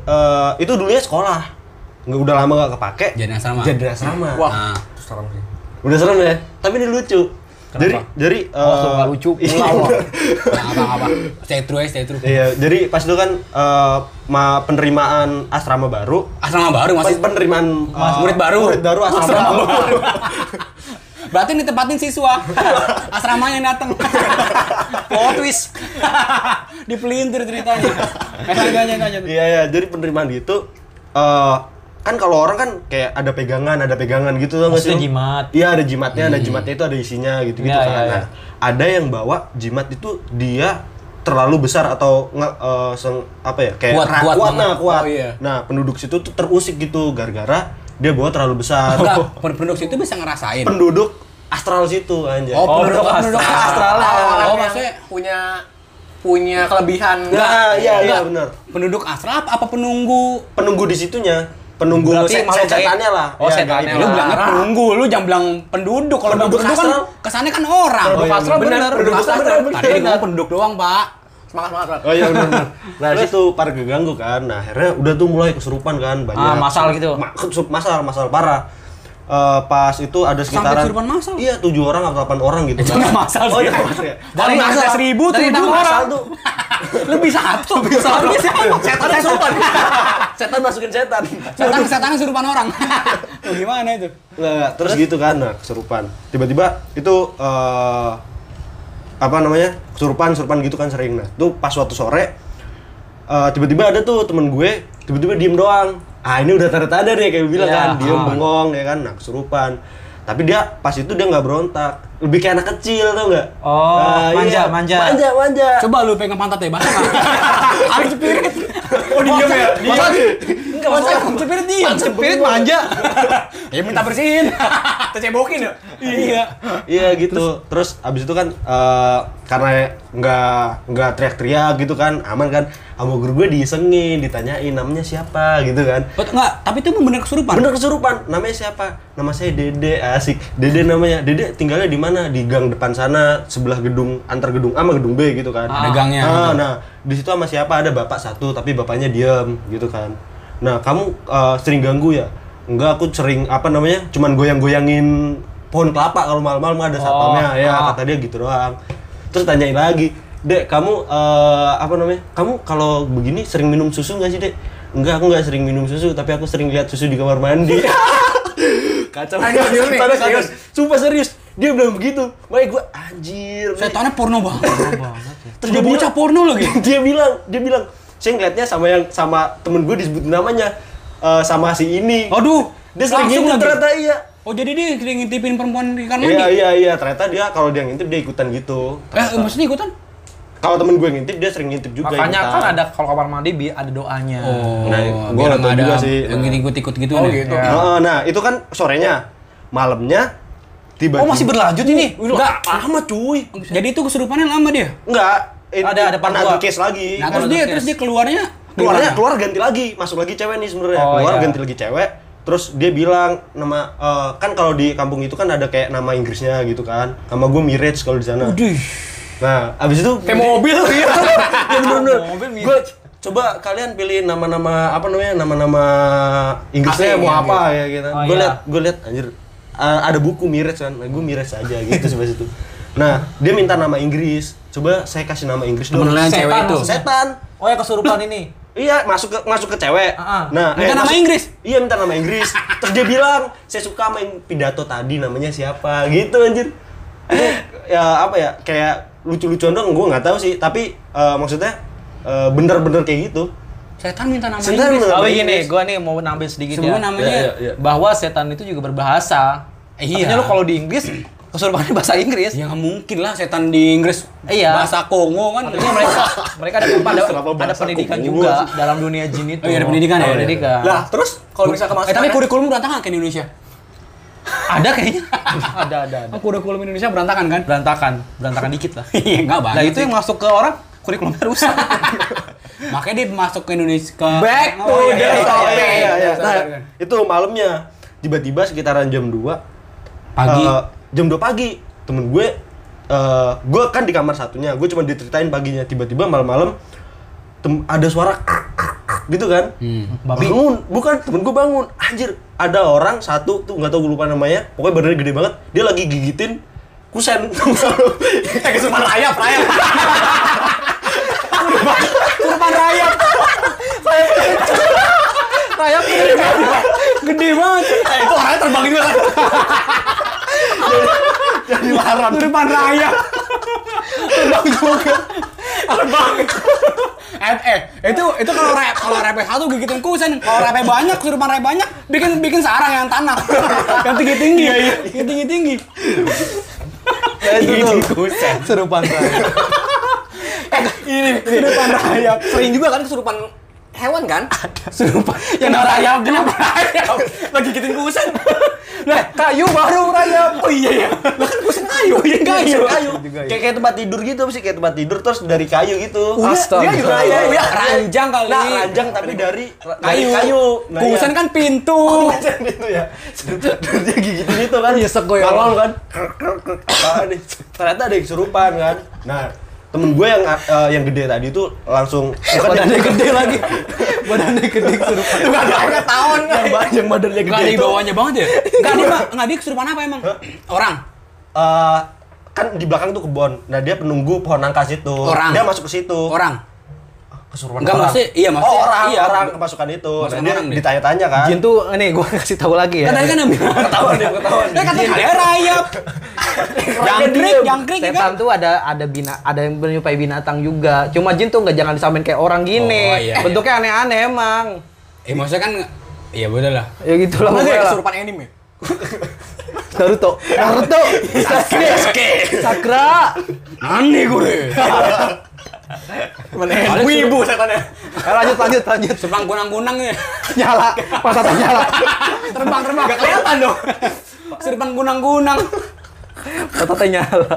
eh, itu dulunya sekolah. Nggak udah lama nggak kepake. Jadi asrama. Jadi asrama. Wah. Nah, Serem sih. Udah serem ya? Tapi ini lucu. Jadi jadi Langsung eh, nggak lucu, iya. pulau. Nah, apa apa. Stay true, ya, stay true. Iya, jadi pas itu kan eh, ma penerimaan asrama baru. Asrama baru Pas masih. penerimaan eh, murid baru. Murid baru asrama, baru. Berarti ditempatin siswa. Asramanya yang datang. Plot twist. Dipelintir ceritanya. Nah, Kayaknya kayaknya. Iya ya, jadi penerimaan gitu eh, kan kalau orang kan kayak ada pegangan, ada pegangan gitu tau nggak Maksudnya sih? lu? jimat. Iya, ada jimatnya, ada jimatnya itu ada isinya gitu-gitu Iya, kan. iya, iya. Nah, ada yang bawa jimat itu dia terlalu besar atau nge, eh, seng- apa ya kayak Kuat, ra- kuat kuat, banget. nah, kuat. Oh, iya. Nah, penduduk situ tuh terusik gitu gara-gara dia bawa terlalu besar. Oh. Enggak, produksi itu bisa ngerasain. penduduk astral situ anjay. Oh, penduduk penduduk penduduk astral. Oh, astral. Oh, maksudnya maksudnya punya punya kelebihan. Nah, iya iya Enggak. benar. penduduk astral apa, apa penunggu? Penunggu di situnya, penunggu Berarti set- malah gaib. setannya lah. Oh, Iya, setannya gaib. Ya, Lu lah. bilangnya penunggu, lu jangan bilang penduduk. Kalau bilang Penduduk penduduk kan astral. Oh, iya. kesannya kan Oh, orang. iya, Penduduk astral bener. bener, Penduduk penduduk astral astral bener. bener. Tadi ngomong penduduk doang, Pak. Semangat, semangat, semangat. Oh iya benar. benar. Nah, situ para keganggu kan. Nah, akhirnya udah tuh mulai kesurupan kan banyak. Ah, masal gitu. Ma- kesup- masal, masal parah. Eh, pas itu ada sekitaran kesurupan masal? Iya, 7 orang atau 8 orang gitu. Itu nggak masal sih. Oh, iya, masal ya. Dari Dari masa masa- seribu dari tujuh tahun orang. Masal tuh Lebih satu. Satunya siapa? setan kesurupan. setan masukin setan. Setan setan kesurupan orang. Tuh, Gimana itu? Nah, nah, terus gitu kan, nah kesurupan. Tiba-tiba itu eh, apa namanya kesurupan, kesurupan gitu kan sering. Nah, tuh pas suatu sore eh, tiba-tiba ada tuh temen gue, tiba-tiba diem doang. Ah ini udah tanda-tanda deh kayak bilang Ya, kan, diem aman. bengong ya kan, nah kesurupan. Tapi dia pas itu dia nggak berontak, lebih kayak anak kecil tau nggak? Oh, Ah, manja, manja. manja, manja. Coba lu pegang pantat deh, basah. Harus cepirit. Oh diem ya, diem. Enggak masalah. Cepirit dia. Cepirit manja. Ya minta bersihin. Tercebokin ya. Iya. Iya gitu. Terus, abis itu kan eh, karena nggak nggak teriak-teriak gitu kan, aman kan. Sama guru gue diisengin, ditanyain namanya siapa gitu kan. Bet- Enggak, tapi itu emang bener kesurupan. Bener kesurupan, namanya siapa? Nama saya Dede, asik. Dede namanya. Dede tinggalnya di mana di gang depan sana sebelah gedung antar gedung A sama gedung B gitu kan Ada gangnya Ah, gitu. nah di situ sama siapa ada bapak satu tapi bapaknya diam gitu kan nah kamu eh, sering ganggu ya enggak aku sering apa namanya cuman goyang-goyangin pohon kelapa kalau malam-malam ada satpamnya Oh, ya ah. kata dia gitu doang terus tanyain lagi dek kamu eh, apa namanya kamu kalau begini sering minum susu nggak sih dek enggak aku nggak sering minum susu tapi aku sering lihat susu di kamar mandi kacau Anjing, serius nih, Setannya kacau. serius. sumpah serius dia bilang begitu makanya gue anjir Nek. Setannya porno banget. Terus Terus dia dia bocah bilang- porno lagi. dia bilang dia bilang saya ngeliatnya sama yang sama temen gue disebut namanya eh, sama si ini Aduh, dia sering langsung gitu lagi. ternyata iya Oh jadi dia sering ngintipin perempuan di kamar iya mandi? iya iya ternyata dia kalau dia ngintip dia ikutan gitu Eh, maksudnya ikutan? kalau temen gue ngintip dia sering ngintip juga Makanya ikutan. kan ada kalau kamar mandi bi- ada doanya. Oh, Nah, biar gua nggak tahu nggak juga ada sih. Yang ikut-ikut gitu. Oh, nih. gitu. Heeh, nah itu kan sorenya malamnya tiba Oh masih berlanjut ini? Enggak. lama cuy Jadi itu kesurupannya lama dia. enggak eh, Ada- ada part pernah dua. ada case lagi Nah, terus dia terus dia keluarnya keluarnya gimana? keluar ganti lagi masuk lagi cewek nih sebenarnya Oh, keluar iya. ganti lagi cewek terus dia bilang nama eh, kan kalau di kampung itu kan ada kayak nama Inggrisnya gitu kan nama gue Mirage kalau di sana Duh. nah abis itu Kayak mobil. iya ya bener Mobil Mirage. gue coba kalian pilih nama-nama apa namanya nama-nama Inggrisnya Asing, mau ya, apa ya gitu Oh, gue iya. liat gue liat anjir eh, ada buku Mirage kan nah, gue Mirage aja gitu sebab itu nah dia minta nama Inggris coba saya kasih nama Inggris dong Temen lu yang cewek Setan itu. maksudnya. setan Oh ya kesurupan ini. Iya, masuk ke masuk ke cewek. Ah, Nah, ah. Minta nama masuk- Inggris? Iya, minta nama Inggris. Terus dia bilang, "Saya suka sama yang pidato tadi namanya siapa?" Gitu anjir. Aduh, ya apa ya? Kayak lucu-lucuan doang gua nggak tahu sih, tapi eh, maksudnya eh, bener-bener kayak gitu. Setan minta nama Setan Inggris. minta- Oh Nama gini, Inggris. gua nih mau nambahin sedikit Semua ya. namanya Iya, iya, iya. Bahwa setan itu juga berbahasa. Iya. Artinya lo kalau di Inggris kesurupannya bahasa Inggris. Ya nggak mungkin lah setan di Inggris. Iya. Bahasa Kongo kan. Artinya mereka mereka ada tempat ada, Kenapa ada bahasa pendidikan kubu? juga dalam dunia jin itu. Oh, iya, ada pendidikan ya? Ada pendidikan. Lah, terus kalau misalnya Eh, kemasan ya. tapi kurikulum berantakan kan Indonesia? ada kayaknya. ada ada ada. Kan kurikulum Indonesia berantakan kan? Berantakan, berantakan dikit lah. Iya, nggak banyak Nah itu sih. yang masuk ke orang kurikulumnya rusak. Makanya dia masuk ke Indonesia ke Back to Oh, the iya, iya, iya, topic. iya, iya. iya. Nah, itu malamnya tiba-tiba sekitaran jam 2 Pagi. eh, jam 2 pagi, temen gue eh, gue kan di kamar satunya, gue cuma diceritain paginya tiba-tiba malam-malam tem- ada suara gitu kan. Hmm. Babi. bangun bukan temen gue bangun anjir ada orang satu tuh nggak tahu gue lupa namanya pokoknya badannya gede banget dia lagi gigitin kusen Eh, kayak kesurupan rayap rayap Kurban rayap. Sayap gede banget. Gede banget. Eh, itu orangnya terbang juga kan? jadi larang Kurban rayap. terbang juga Terbang. eh, eh, itu itu kalau rep kalau repe satu gigitin kusen, kalau repe banyak, kurban rayap banyak, bikin bikin sarang yang tanah. yang tinggi-tinggi. Yang tinggi-tinggi. ya itu tuh Kusen. Serupan saya. Ini kurban rayap. sering juga kan kesurupan hewan kan? Serupa. Yang ada rayap, kenapa rayap? Ya, Lagi gigitin kusen. Nah, Kayu baru rayap. oh iya ya. Lah kan kusen kayu, iya kayu kayu. kayu kayak kayak tempat tidur gitu apa sih kayak tempat tidur terus dari kayu gitu Udah, Astaga. dia juga Iya, kayu. iya. Ya, ranjang kali. nah ranjang tapi dari dari kayu. kayu Nah, iya. Kusen kan pintu. Kusen itu ya Terus dia gigitin itu kan Nyesek gue ya. Malam kan krek, krek, krek, apaan nih? ternyata ada yang kesurupan kan nah temen gue yang eh, yang gede tadi tuh langsung bukan yang Badannya gede lagi. Badannya gede kesurupan. badannya tahun yang, ba- yang badannya Gak ada gede di itu bawahnya banget ya? Gak dia, Pak. Gak dia kesurupan apa emang? Orang. eh, kan di belakang tuh kebon nah dia penunggu pohon nangka situ Orang. dia masuk ke situ Orang. kesurupan Enggak, orang. maksudnya- iya, maksudnya- oh, orang iya. orang kemasukan itu nah, Kemasukan dia orang deh. ditanya-tanya kan Jin tuh nih gua kasih tahu lagi ya. Kan tadi kan yang bilang. ketahuan dia ketahuan Dia kata ada rayap. Jangkrik, jangkrik ya kan? Setan tuh ada ada bina ada yang menyerupai binatang juga. Cuma jin tuh nggak jangan disamain kayak orang gini. Oh, iya, iya. Bentuknya aneh-aneh emang. Eh maksudnya kan Iya boleh lah. Ya gitu lah Lu pokoknya kayak lah. kesurupan anime. Naruto. Naruto. Sasuke. Sakura. Nani gue. Mana wibu setannya. Eh, lanjut lanjut lanjut. Terbang gunang-gunang ya. Nyala. Masa tak nyala. Terbang terbang. Gak kelihatan dong. Kesurupan gunang-gunang. Masa tak nyala.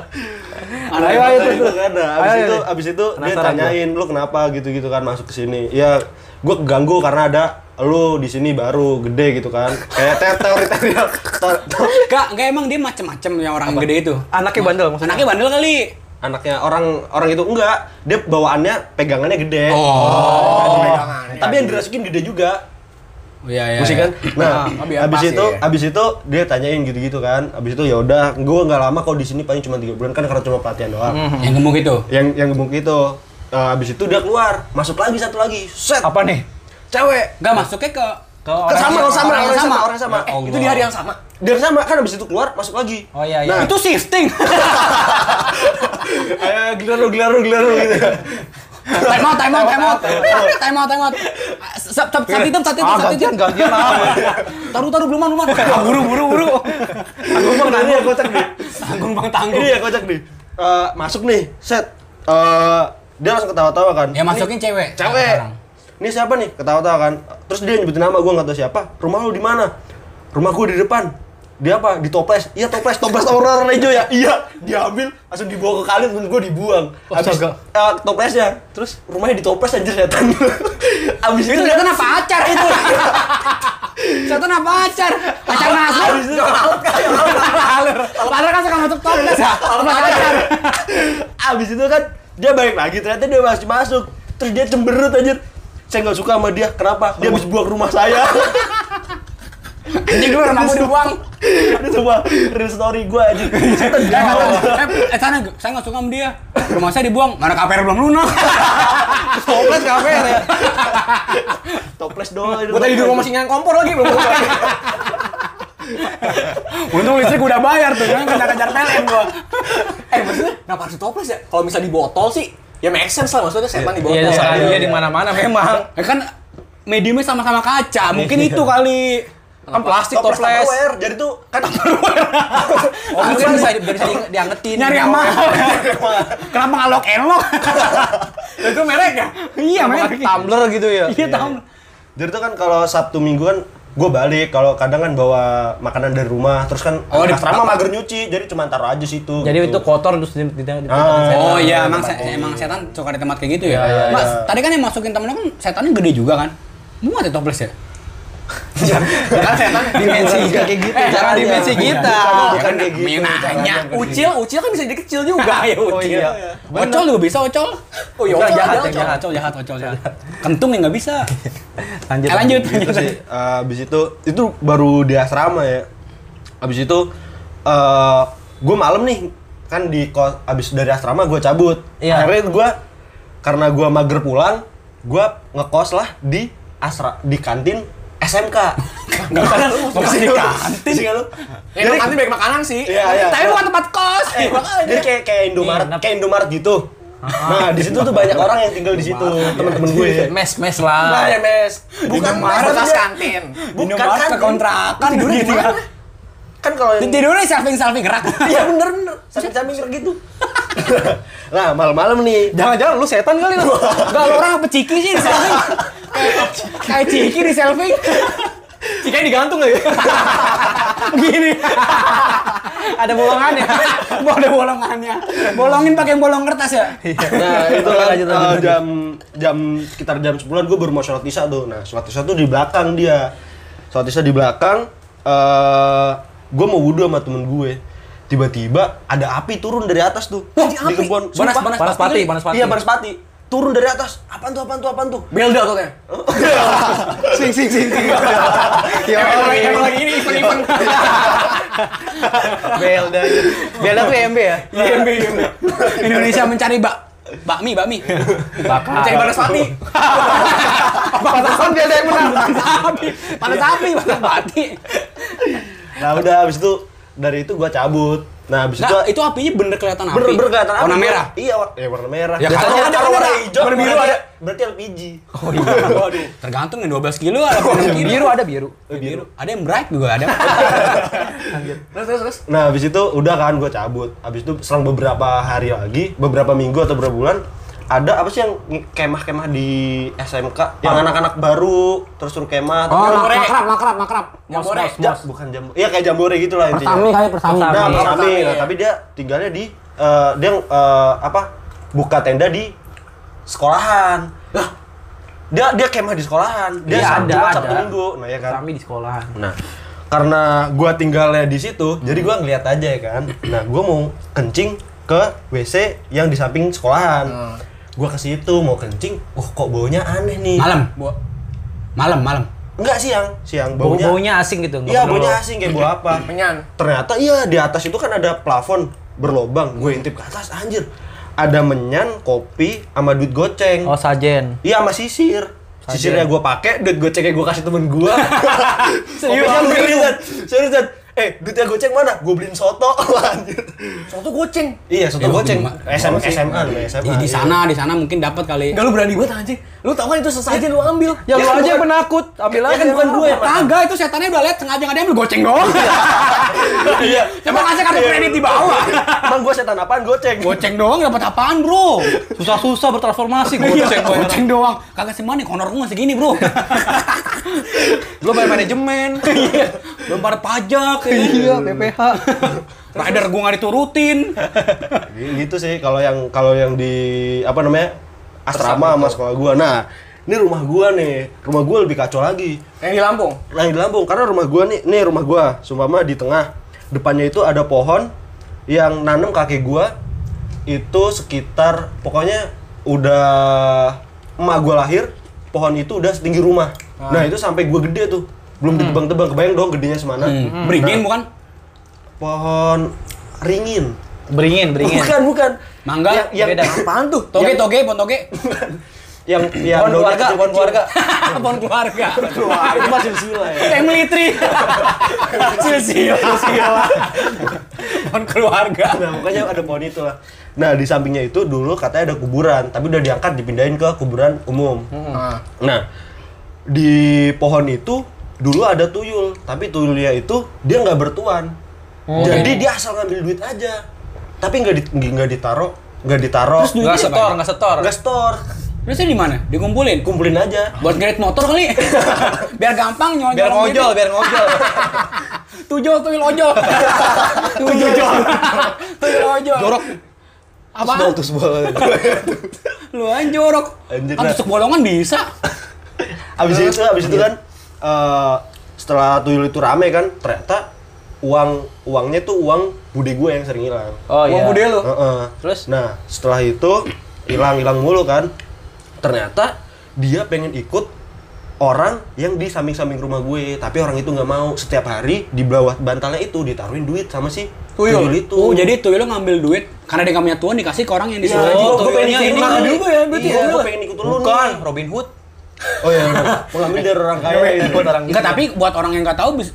ayo ayo terus terus ada abis Ayo, itu ayo. abis itu dia Penasaran tanyain lu kenapa gitu gitu kan masuk ke sini ya gue keganggu karena ada lu di sini baru gede gitu kan kayak ter teori teori ter- ter- Enggak, enggak emang dia macem-macem yang orang gede itu. Anaknya bandel maksudnya. Anaknya bandel kali. anaknya orang orang itu enggak dia bawaannya pegangannya gede tapi yang dirasukin gede juga Iya, iya. Musik iya. kan nah Ah, biar pas abis itu ya. abis itu dia tanyain gitu gitu kan abis itu ya udah gue nggak lama kok di sini paling cuma tiga bulan kan karena cuma pelatihan doang kan? Yang gemuk itu. yang yang gemuk itu Nah, abis itu dia keluar masuk lagi satu lagi set Apa nih? cewek Enggak masuknya ke Kalau Ke orang sama, orang orang sama, orang sama, sama. orang sama. Ya Allah. Itu di hari yang sama. Dia sama kan abis itu keluar masuk lagi. Oh, iya, iya. Nah, itu shifting. ayo gelar lu, gelar lu, gelar lu gitu. time out, time out, time out. Time out, Eh, time out. Sat sat sat itu, sat itu, Ah, sat itu. gantian, gantian lah. Taruh, taruh, beluman, beluman. Ah, Buru, buru, buru. Aku bang ini ya kocak nih. Tanggung, bang, tanggung. Ini ya kocak nih. Eh, masuk nih, set. Eh, dia langsung ketawa-tawa kan. Ya masukin Ini cewek. Cewek. Orang. Ini siapa nih? Ketawa-tawa kan. Terus dia nyebutin nama gue nggak tahu siapa. Rumah lu di mana? Rumah gue di depan. Dia apa? Di toples. Iya toples, toples orang warna hijau ya. Iya, diambil langsung dibawa ke kali terus gue dibuang. Habis Astaga. eh, toplesnya. Terus rumahnya di toples anjir setan. Habis Itu kan- setan apa pacar itu? Setan apa pacar? Pacar masuk. Habis itu Padahal kan suka masuk toples ya. Pacar. Abis itu kan dia balik lagi, ternyata dia masih masuk. Terus dia cemberut anjir. Saya nggak suka sama dia. Kenapa? Dia habis buang rumah saya. Anjing dulu orang mau dibuang. Ini semua real story gue anjir. Setan Eh, kata, jahat. eh, eh, sana, saya nggak suka sama dia. Rumah saya dibuang, mana KPR belum lunas. Toples KPR ya. Toples doang. Gue tadi di rumah masih nyalain kompor lagi belum. Untung listrik udah bayar tuh, jangan kejar-kejar PLN gua. eh maksudnya kenapa harus di toples ya? Kalau misalnya di botol sih ya make sense lah maksudnya setan di botol. Iya, Iya, sekarang iya, dia iya. di mana-mana memang. Ya kan mediumnya sama-sama kaca, mungkin itu kali. Kan plastik Toples toples. Tupperware. Jadi tuh kan Oh, mungkin bisa biar bisa di- diangetin. Nyari yang mahal. Kenapa nggak lock and lock? itu merek ya? Iya, merek. Tumbler gitu ya. Iya, tumbler. jadi tuh kan kalau Sabtu Minggu kan gue balik kalau kadang kan bawa makanan dari rumah terus kan Oh, di- asrama mager nyuci jadi cuma taruh aja situ Jadi gitu. itu kotor terus di di- di- Ah. Oh iya, Tempat emang se- kopi. emang setan suka di tempat kayak gitu ya. iya, Mas, iya. tadi kan yang masukin temen lu kan setannya gede juga kan? Muat ya toples ya? Kan setan dimensi Iya. Bukan kayak gitu Eh, jangan caranya. dimensi kita. Bukan, Ya bukan kan, kayak gitu main nanya. caranya. Ucil, ucil kan bisa jadi kecil juga ya ucil. Oh, iya. Ocol juga bisa, ocol. Oh iya, ocol jahat, ada, ocol, ocol. ocol, jahat, ocol, jahat. Kentung yang nggak bisa. Lanjut. Eh, lanjut. gitu sih Eh, abis itu itu baru di asrama ya abis itu eh gue malam nih kan di ko- abis dari asrama gue cabut Iya. akhirnya gue karena gue mager pulang gue ngekos lah di asra di kantin SMK nggak usah di kantin sih lu Ya, Jadi- nanti banyak makanan sih. Iya, iya. Tapi bukan tempat kos. Iya, Eh, jadi kayak kayak Indomaret, Nginep. kayak Indomaret gitu. Nah, di situ tuh banyak orang yang tinggal di situ, ya. teman-teman gue. Iya. Mes mes Nah, lah. ya, Mes. Bukan Mas, Mas, bekas dia- kantin. Bukan Indomaret kan ke kontrakan, tidurnya gitu di mana? Kan kalau yang Tidurnya selfing-selfing gerak. Iya bener bener, sambil-sambil gitu. nah, malam-malam nih. Jangan-jangan lu setan kali lu. Enggak, lu orang apa ciki sih di selfie? Kayak ciki di selfie. Cikanya digantung lagi. ya? Gini. ada bolongannya. Mau ada bolongannya. Bolongin pakai bolong kertas ya? Nah, itu kan Lanjut, lanjut, eh, lanjut. jam jam sekitar jam 10-an gue baru mau sholat isya tuh. Nah, sholat isya tuh di belakang dia. Sholat isya di belakang eh gue mau wudhu sama temen gue. Tiba-tiba ada api turun dari atas tuh. di kebun. Panas panas Sumpah. panas pati panas pati. Iya, panas pati. Turun dari atas. Apaan tuh? Apaan tuh? Apaan tuh? Belda tuh kayak. Sing sing sing sing. Emang lagi ini event-event. Belda. Belda tuh MB ya. IMB. Indonesia mencari bak bakmi, bakmi. Mencari Banaspati. Pantasan Belda yang menang. Sapi, panas sapi, panas bati. Nah, udah habis itu dari itu gue cabut. Nah, habis itu Nah, itu apinya bener kelihatan api. bener bener kelihatan Warna api. merah. iya war- eh, warna merah Ya, kalau- ada kalau warna merah, hijau warna biru berarti- ada. berarti LPG Oh iya. Waduh. Tergantung yang 12 kilo ada warna biru. Biru ada biru. Ada biru. Ada yang bright juga ada. Terus terus terus. nah habis itu udah kan gue cabut habis itu selang beberapa hari lagi beberapa minggu atau beberapa bulan ada apa sih yang kemah-kemah di SMK yang anak-anak baru terus suruh kemah tapi Oh, kalau- mak- makrab, makrab, makrab. Iya. Jambore. Ja- bukan jambore ya kayak jambore gitulah intinya Persami kali persami. Persami. Nah, Persami. persami. Persami, Nah, ya. tapi dia tinggalnya di eh, dia eh, apa? Buka tenda di sekolahan. Lah, dia dia kemah di sekolahan. Dia Iya, Sabtu, ada, Jumat, ada. Sabtu Minggu. Nah, ya kan. Kami di sekolah. Nah, karena gua tinggalnya di situ, jadi gua Hmm. ngeliat aja ya kan. Nah, gua mau kencing ke WC yang di samping Hmm. sekolahan. Gua ke situ mau kencing, wah kok baunya aneh nih. Malam. Buat Malam, malam. Enggak siang, siang Bau baunya. baunya asing gitu. nggak Iya, perlu- baunya asing kayak bau apa? penyan. ternyata iya di atas itu kan ada plafon berlobang gue intip ke atas anjir ada menyan kopi sama duit goceng Oh sajen. iya sama sisir sisirnya gue pakai duit gocengnya gue kasih temen gue serius serius Zat. serius Zat. eh duitnya goceng mana gue beliin soto anjir Soto goceng. iya soto Iya, goceng gimana? SM, Gimana sih? SMA SMA Di, di sana, di sana mungkin dapat kali. Enggak lu berani banget anjing. Lu tau kan itu sesajen lu ambil. Ya lu kan aja bukan- penakut, ambil aja. ya kan bukan gue yang Kagak itu setannya udah lihat sengaja nggak ada ambil goceng doang. iya Coba kasih kartu kredit di bawah. emang gue setan apaan goceng Goceng doang dapat apaan, Bro? Susah-susah bertransformasi Iya, Goceng, goceng banget. goceng doang. Kagak sih mana honor gue segini, Bro. Belum bayar manajemen. Iya. Belum bayar pajak ya. Iya, PPH. Rider gua enggak diturutin. gitu sih kalau yang kalau yang di apa namanya asrama sama sekolah gua nah ini rumah gua nih rumah gua lebih kacau lagi Yang di Lampung. nah di Lampung karena rumah gua nih nih rumah gua sumpama di tengah depannya itu ada pohon yang nanam kakek gua itu sekitar pokoknya udah emak gua lahir pohon itu udah setinggi rumah Ah. nah itu sampai gua gede tuh belum ditebang-tebang kebayang dong gedenya semana Hmm. Beringin Nah, bukan? pohon ringin Beringin, beringin. bukan bukan Mangga. yang, yang beda. apaan tuh Toge, toge, pon toge. yang yang Pohon daunnya keluarga, kecil, pohon keluarga Apaan keluarga? Wah, itu masih silsila ya Family tree. Silsila. Apaan keluarga? nah makanya ada pohon itu lah nah di sampingnya itu dulu katanya ada kuburan tapi udah diangkat dipindahin ke kuburan umum Ah. nah di pohon itu dulu ada tuyul tapi tuyulnya itu dia nggak bertuan jadi dia asal ngambil duit aja tapi nggak di, nggak ditaruh nggak ditaruh Terus duit- Enggak setor, enggak setor. nggak store Terusnya di mana? Dikumpulin. kumpulin aja Buat grade motor kali. Biar gampang nyolong. Biar ngojol, biar ngojol. Tujol tuyul ojol. Tujol. tuyul ojol. jorok Apa? Tusbol, tusbol. Lu anjing jorok. Anjir, Kan nah. tusuk bolongan bisa. abis itu abis itu kan eh, setelah tuyul itu rame kan ternyata uang uangnya tuh uang bude gue yang sering hilang Oh iya. Uang bude lu. Heeh. Terus? nah setelah itu hilang hilang mulu kan ternyata dia pengen ikut orang yang di samping samping rumah gue tapi orang itu nggak mau setiap hari di bawah bantalnya itu ditaruhin duit sama si tuyul, itu Oh, jadi tuyul ngambil duit karena dia nggak punya tuan dikasih ke orang yang Iya, disuruh oh, oh, gue pengen tuyulnya ini. ikut lu juga ya, berarti iya, ya. gue pengen ikut lu Bukan, nih. Robin Hood. oh iya bener. mengambil dari orang kaya ya. gitu. Enggak, tapi buat orang yang nggak tahu bis-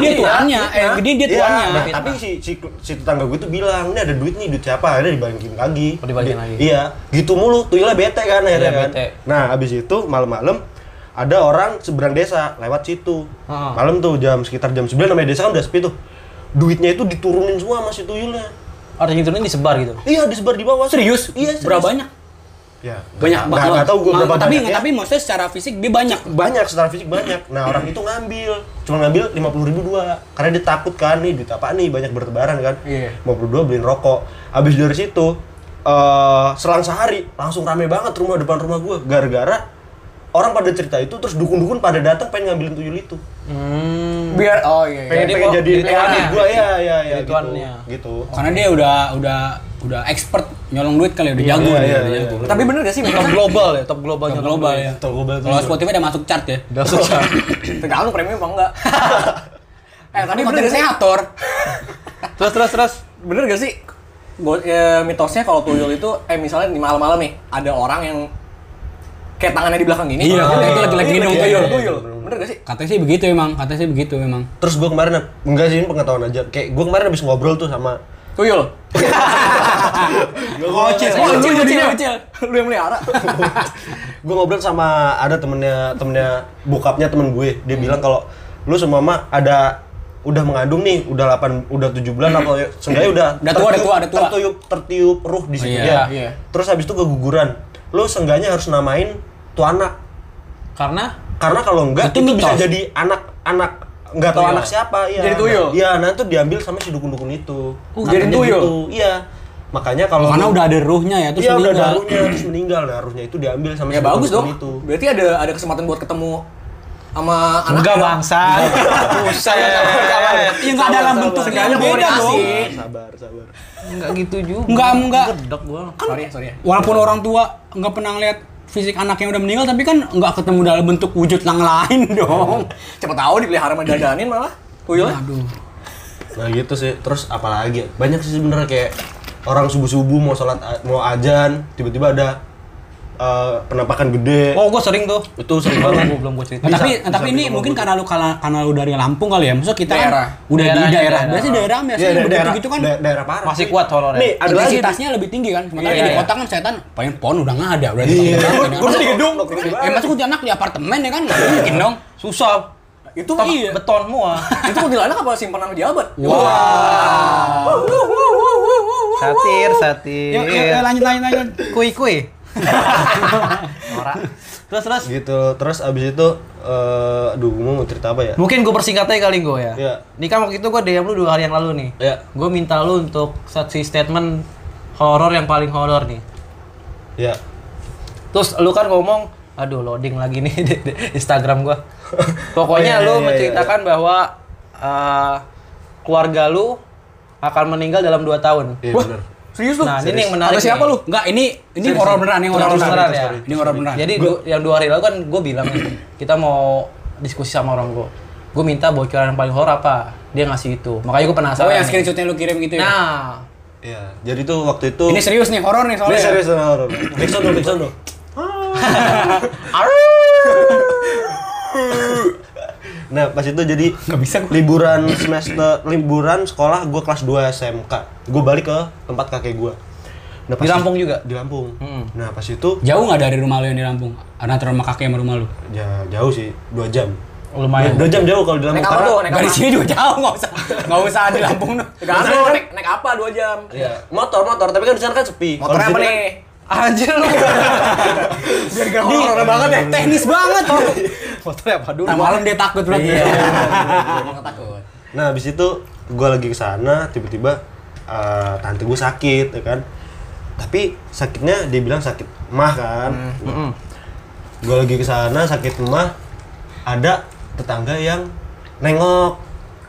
Fitnah, dia fitnah, tuannya, eh fitnah. gede dia Iya, tuannya. nah, fitnah. tapi si, si si tetangga gue tuh bilang ini ada duit nih duit siapa akhirnya dibalikin lagi Oh, dibalikin Di- lagi. iya gitu mulu tuyulnya bete kan akhirnya Iya, kan bete. nah abis itu malam-malam ada orang seberang desa lewat situ Ah. malam tuh jam sekitar jam 9 namanya desa kan udah sepi tuh duitnya itu diturunin semua sama si tuyulnya Artinya itu disebar gitu. iya disebar di bawah Serius? iya serius. Berapa banyak? ya Banyak nggak nggak tahu gue Nah, berapa tapi, banyak ya. Tapi maksudnya secara fisik dia banyak. banyak secara fisik banyak nah orang itu ngambil cuma ngambil lima puluh ribu dua karena dia takut kan nih duit apa nih banyak bertebaran kan Iya. lima beliin rokok abis dari situ eh selang sehari langsung rame banget rumah depan rumah gue gara-gara orang pada cerita itu terus dukun-dukun pada datang pengen ngambilin tuyul itu Hmm. Biar oh iya. iya. pengen Jadi pengen kok jadi jadi tuannya. gue ya ya ya Jadi gitu tuannya. gitu Karena dia udah udah udah expert nyolong duit kali udah jago iya, dia, iya, udah iya, jago. iya. Tapi bener gak sih Top memang global ya, top global. Top global ya. Top global Iya. tuh. Kalau Spotify udah masuk chart ya. Udah susah. tergantung premium apa enggak? eh tapi bener Ini konten gak sih? kreator. terus terus terus. Bener gak sih? Go- eh, mitosnya kalau tuyul itu eh misalnya di malam-malam nih ada orang yang kayak tangannya di belakang gini. Iya, orang kayak itu lagi-lagi ini hidung tuyul. tuyul. Tuyul. Bener gak sih? Katanya sih begitu emang, katanya sih begitu emang. terus gue kemarin enggak sih ini pengetahuan aja kayak gue kemarin abis ngobrol tuh sama Tuyul. Ngocil. Oh, lu Kecil, jadinya kecil. Lu yang melihara. gue ngobrol sama ada temennya temennya bokapnya temen gue dia bilang kalau lu semama ada udah mengandung nih, udah 8 udah 7 bulan apa ya, seenggaknya udah Udah tua, udah tua, udah tua. tertiup tertiup ruh di situ iya, ya. Terus habis itu keguguran. Lo seenggaknya harus namain tuh anak. Karena Karena kalau enggak Itu itu, bisa mitos. jadi anak-anak nggak tahu Tuyul. anak siapa iya. Jadi tuyul. Iya, nah itu diambil sama si dukun-dukun itu. Oh, jadi Katanya tuyul. gitu, Iya. Makanya kalau Karena udah ada ruhnya ya, terus Iya, udah meninggal. darunya terus meninggal, Nah, darunya itu diambil sama Ya bagus dong. dukun-dukun itu. Berarti ada ada kesempatan buat ketemu sama anak. enggak bangsa. Saya Iya, Ya nggak dalam bentuk Sengaja yang beda komunikasi. dong. Iya. Sabar, sabar. Enggak gitu juga. Enggak, enggak. Kan Gedek gua. Sorry ya, sorry ya. Walaupun orang tua nggak pernah ngeliat fisik anaknya udah meninggal, tapi kan nggak ketemu dalam bentuk wujud yang lain dong. Iya. Siapa tahu dipelihara sama dadanin malah. Iya. Tuyulnya. Aduh. Nah gitu sih. Terus apalagi? ya? Banyak sih sebenarnya kayak orang subuh-subuh mau sholat mau ajan, tiba-tiba ada eh, penampakan gede. Oh, gua sering tuh. Itu sering Belum banget. gua belum gua cerita. Nah, Bisa, tapi bisa tapi ini bikin mungkin ngomong karena lu kala- karena lu dari Lampung kali ya. Maksudnya kita Daerah. kan udah di Daerahnya, daerah. daerah. Biasanya daerah biasanya Iya, da- begitu daerah gitu kan. da- daerah parah. Masih kuat horornya. Nih, ada lagi. intensitasnya lebih tinggi kan. Sementara Iya, di iya. kota kan setan pengen pohon udah nggak ada berarti. Iya. Iya. di gedung. Eh masuk kuntilanak di apartemen ya kan nggak Iya. mungkin dong. Susah. Itu Tetap iya. beton semua. Itu kuntilanak apa simpanan pejabat? satir, satir. Yuk, yuk, yuk, lanjut lanjut lanjut. Kui kui. Ora. Terus terus. Gitu. Terus abis itu eh aduh gua mau cerita apa ya? Mungkin gue persingkat aja kali gue ya. Iya. Ini kan waktu itu gue DM lu dua hari yang lalu nih. Iya. Gue minta lu untuk satu statement horor yang paling horor nih. Ya. Terus lu kan ngomong, aduh loading lagi nih di di Instagram gua. Pokoknya Oh, iya, lu iya, iya, menceritakan bahwa eh, keluarga lu akan meninggal dalam 2 tahun. Iya benar. Serius lu? Nah, ini yang menarik. Ada siapa nih. lu? Enggak ini ini Sorry, horor sorry. beneran ini Horor horor beneran beneran. ya. Ini horor beneran. Jadi gua- yang dua hari lalu kan gue bilang kita mau diskusi sama orang gua. Gue minta bocoran yang paling horor apa? Dia ngasih itu. Makanya gue penasaran. Oh yang nih. screenshotnya lu kirim gitu ya. Nah, Iya. Jadi tuh waktu itu Ini serius nih horor nih Ini soalnya. serius sama horor. Nixon dong, Nixon dong. Nah, pas itu jadi liburan semester liburan sekolah gue kelas 2 SMK. Gue balik ke tempat kakek gue. Nah, Di Lampung juga? Di Lampung. Nah, pas itu Jauh nggak dari rumah lu yang di Lampung? Antara rumah kakek sama rumah lu? ja- jauh sih, 2 jam. lumayan. 2 jam jauh kalau di Lampung. Naik apa karena- tuh? Naik Dari apa? sini juga jauh, nggak usah, nggak usah di Lampung dong. Tergantung lu naik, naik apa 2 jam? Iya, motor motor tapi kan di sana kan sepi. Kalau Motornya di apa sini nih? Anjir lu. Biar gak horor banget ya. Teknis banget. Fotonya apa dulu? Tengah malam dia takut berarti. kan- Nah, habis itu gue lagi ke sana tiba-tiba eh, tante gue sakit ya kan. Tapi sakitnya dia bilang sakit mah kan. Hmm, gue lagi ke sana sakit mah ada tetangga yang nengok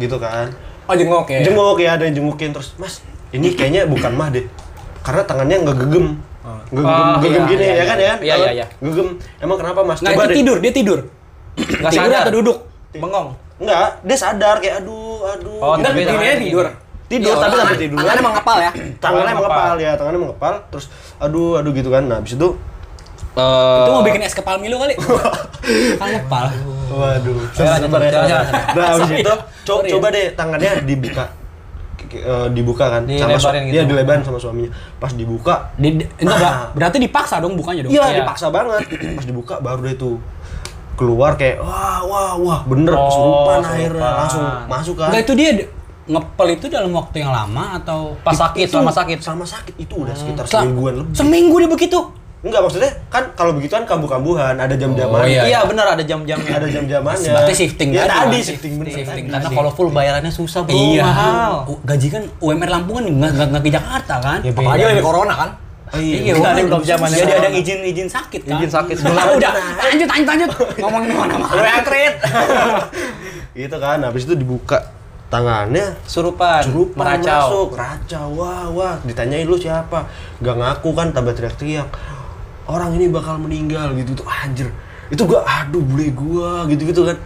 gitu kan Oh jengok ya. jenguk ya ada yang jengukin terus mas ini kayaknya bukan mah deh karena tangannya nggak gegem gegem, Oh, gegem iya, gini iya, ya kan iya. ya Iya, iya, Nah, iya. gegem emang kenapa mas Nggak itu deh. tidur, dia tidur. Enggak Tidur sadar. atau duduk? Bengong. enggak dia sadar kayak aduh aduh Oh, gitu. Ntar Tapi gini ya tangannya tidur. tidur tapi sampai tiduran Tangan emang ngepal ya. tangannya mengepal ya tangannya mengepal terus aduh aduh gitu kan nah habis itu eh, Itu mau bikin es kepal Milo kali. Kan ngepal. Waduh, Jangan, sabar ya. jangan, sabar. jangan. Nah, abis itu co- coba deh tangannya dibuka. K- k- eh, dibuka kan sama Dilebarin su- gitu. Iya, dilebarin sama suaminya. Pas dibuka, Di, di- enggak, ber- berarti dipaksa dong bukannya dong. iya Iya. dipaksa banget. Pas dibuka baru deh tuh keluar kayak wah wah wah bener Oh, kesurupan kesurupan. akhirnya langsung masuk kan Enggak itu dia d- ngepel itu dalam waktu yang lama atau Pas sakit, Itu selama sakit. Hmm. sama sakit itu udah sekitar Sel- semingguan lebih Seminggu dia begitu. enggak maksudnya kan kalau begituan kambuh-kambuhan ada Oh, jam-jaman iya. Iya, benar ada jam-jamnya. ada jam-jamannya Berarti shifting ya tadi, tadi kan? shifting bener Shifting. tadi. Karena kalau full bayarannya susah, bro. Mahal. Oh, Mahal. U- Iya. Gaji kan UMR Lampung kan nggak nggak nggak ke Jakarta kan? Ya, Apalagi Iya. lagi corona kan. Oh, iya, Iya, bener. ada belum zamannya. Jadi ada izin izin sakit kan? Izin sakit. Udah, udah. lanjut lanjut lanjut. Ngomongin mana mana. Lu yang treat. gitu kan habis itu dibuka tangannya Surupan, Surupan meracau. masuk, racau, wah wah. Ditanyain lu siapa? Gak ngaku kan, tambah teriak-teriak. Orang ini bakal meninggal gitu tuh anjir. Itu gua aduh bule gua gitu-gitu kan.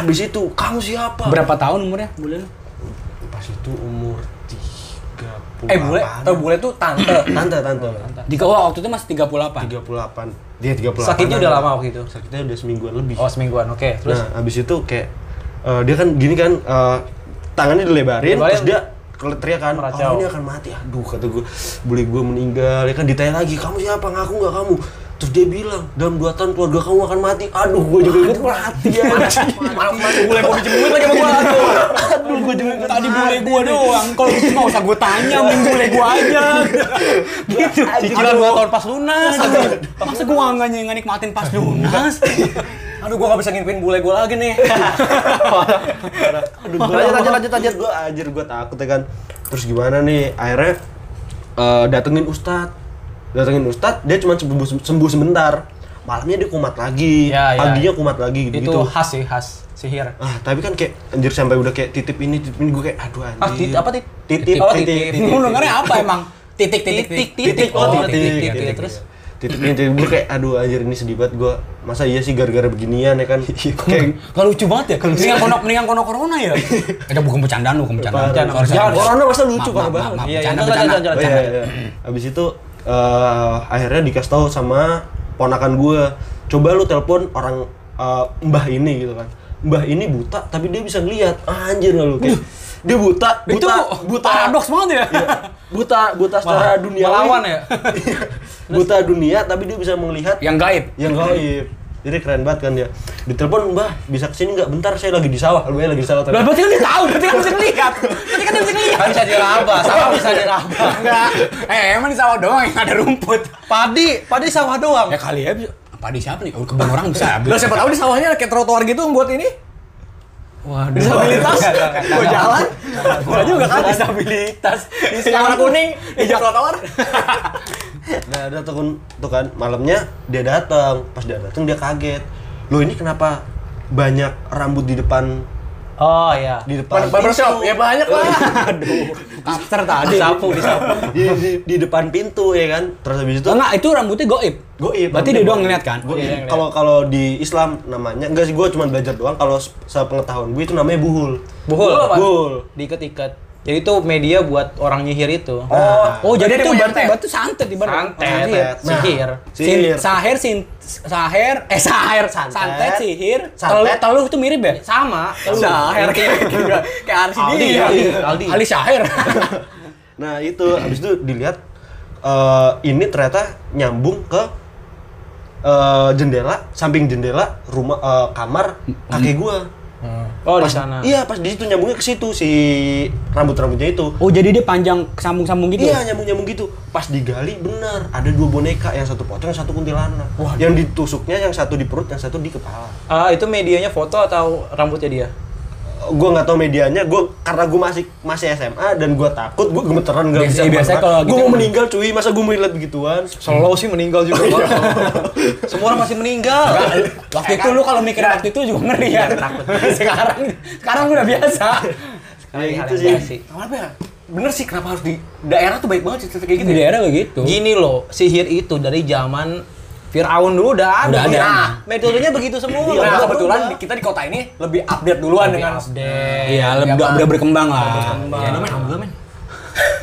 Habis itu kamu siapa? Berapa tahun umurnya? Bulan. Pas itu umur 38. Eh bule, tau bule tuh tante. Tante, tante. Tiga, wah waktu itu masih 38. 38. Dia 38. Sakitnya udah Tante. lama waktu itu? Sakitnya udah semingguan lebih. Oh, semingguan. Oke, terus Nah, habis itu kayak eh, dia kan gini kan eh, tangannya dilebarin Dilebarin. terus dia kele- teriak kan Meracau. orang ini akan mati aduh kata gue boleh gue meninggal ya kan ditanya lagi kamu siapa ngaku nggak kamu terus dia bilang dalam 2 tahun keluarga kamu akan mati aduh gue juga ikut mati ya Boleh mau pinjem duit lagi sama gua. aduh gue juga ikut Tadi bule gua doang. Kalau itu nggak usah gua tanya, mending bule gua aja. gitu. Cicilan dua tahun pas lunas. Masa gua nggak ny- nggak nikmatin pas lunas? Aduh, gua nggak bisa ngimpiin bule gua lagi nih. aduh gue lanjut lanjut lanjut lanjut gue anjir gue takut ya kan terus gimana nih akhirnya eh, datengin ustad datengin ustad dia cuma sembuh sembuh sebentar malamnya dia kumat lagi Ya, ya. paginya kumat lagi gitu, Itu khas sih, khas sihir. ah tapi kan kayak anjir sampai udah kayak titip ini titip ini gue kayak aduh anjir Ah, tit- apa tit? titip Oh, titip, titip. titip. Lu dengernya apa emang? Titik, titik, titik. titik Oh, oh titik, titik titik, titik. titik. Terus? titik ini titik gue kayak aduh anjir ini sedih banget gue masa iya sih gara-gara beginian ya kan Iya, kayak Gak lucu banget ya? Mendingan kono, mendingan kono corona ya? Itu bukan bercandaan, bukan bercandaan. Jangan, Sorry, sorry. jangan, corona masa Maaf, lucu parah maaf, banget. maaf, Iya, iya, bercanda, jangan, bercanda. jangan, Oh, iya, iya. Abis itu eh, akhirnya dikasih tahu sama ponakan gue, coba lu telepon orang eh, mbah ini gitu kan. Mbah ini buta tapi dia bisa ngeliat. Ah, Anjir nggak lu kayak. Dia buta, buta, Itu buta. paradoks banget ya? Iya. Buta, buta secara Malah- dunia. melawan ya? buta dunia tapi dia bisa melihat Ya. Yang gaib. yang gaib. Jadi keren banget kan dia. Ditelepon mbah bisa kesini nggak? Bentar saya lagi di sawah. Lu ya, lagi di sawah Lah tadi. berarti kan dia tahu, berarti kan bisa ngelihat. Berarti kan dia bisa ngelihat. Kan bisa diraba, sama bisa diraba. Enggak. Eh, emang di sawah doang yang ada rumput. Padi, padi sawah doang. Ya kali ya, bisa- apa di siapa nih? Oh, Kebun orang bisa. Lah siapa tahu di sawahnya ada kayak trotoar gitu buat ini. Waduh. Disabilitas. Gua jalan. Gua juga kan disabilitas. Di sawah kuning, di Iya. trotoar. Nah, ada tuh kan, tuh kan malamnya dia datang. Pas dia datang dia kaget. Lo ini kenapa banyak rambut di depan Oh iya. di depan Barbershop, ya banyak lah. Kapter tadi. Sapu di sapu. di, di, di depan pintu ya kan? Terus habis itu Enggak, itu rambutnya goib. goib. Berarti dia doang ngeliat kan? Goib. Kalau kalau di Islam namanya enggak sih gua cuma belajar doang kalau se- sepengetahuan gue itu namanya buhul. Buhul. Buhul. Diikat-ikat. Jadi itu media buat orang nyihir itu. Oh, Oh, jadi Berarti itu dia berarti punya berarti santet di badan. Santet. Sihir. Nah, Sihir. Sin, Sihir. sahir, sin, sahir, eh sahir, santet, sihir, Santet. santet. teluh itu mirip ya? Sama. Sahir kayak kayak- kayak Aldi Aldi, dia. Aldi, Aldi. Ali Sahir. Nah, itu habis itu dilihat eh, ini ternyata nyambung ke eh, jendela, samping jendela rumah eh, kamar kakek gua. Hmm. Oh di Pas- sana. Iya, pas di situ nyambungnya ke situ si rambut-rambutnya itu. Oh, jadi dia panjang sambung-sambung gitu. Iya, nyambung-nyambung gitu. Pas digali bener, ada dua boneka, yang satu pocong, yang satu kuntilanak. yang ditusuknya yang satu di perut, yang satu di kepala. Ah, itu medianya foto atau rambutnya dia? Eh, Gua nggak tahu medianya, gua karena gua masih masih SMA dan gua takut, gua gemeteran nggak Biasa- bisa. biasanya kemana-mana. kalau gitu gua mau emang- meninggal cuy, masa gua mau lihat begituan? Selalu sih meninggal juga. Oh. Semua orang masih meninggal. Waktu itu lu kalau mikir waktu itu juga ngeri ya. Sekarang sekarang udah biasa. Ya, gitu Hal yang sih. biasa. Kenapa ya? Bener sih kenapa harus di daerah tuh baik banget cerita kayak gitu. Di daerah begitu. Gini loh, sihir itu dari zaman Firaun dulu udah ada. Udah ada. Nah, metodenya begitu semua. Nah, Udah kebetulan berubah. di- kita di kota ini lebih update duluan dengan iya. update. Iya, lebih udah, udah berkembang lah. Iya, Ya, lu main ambil, men.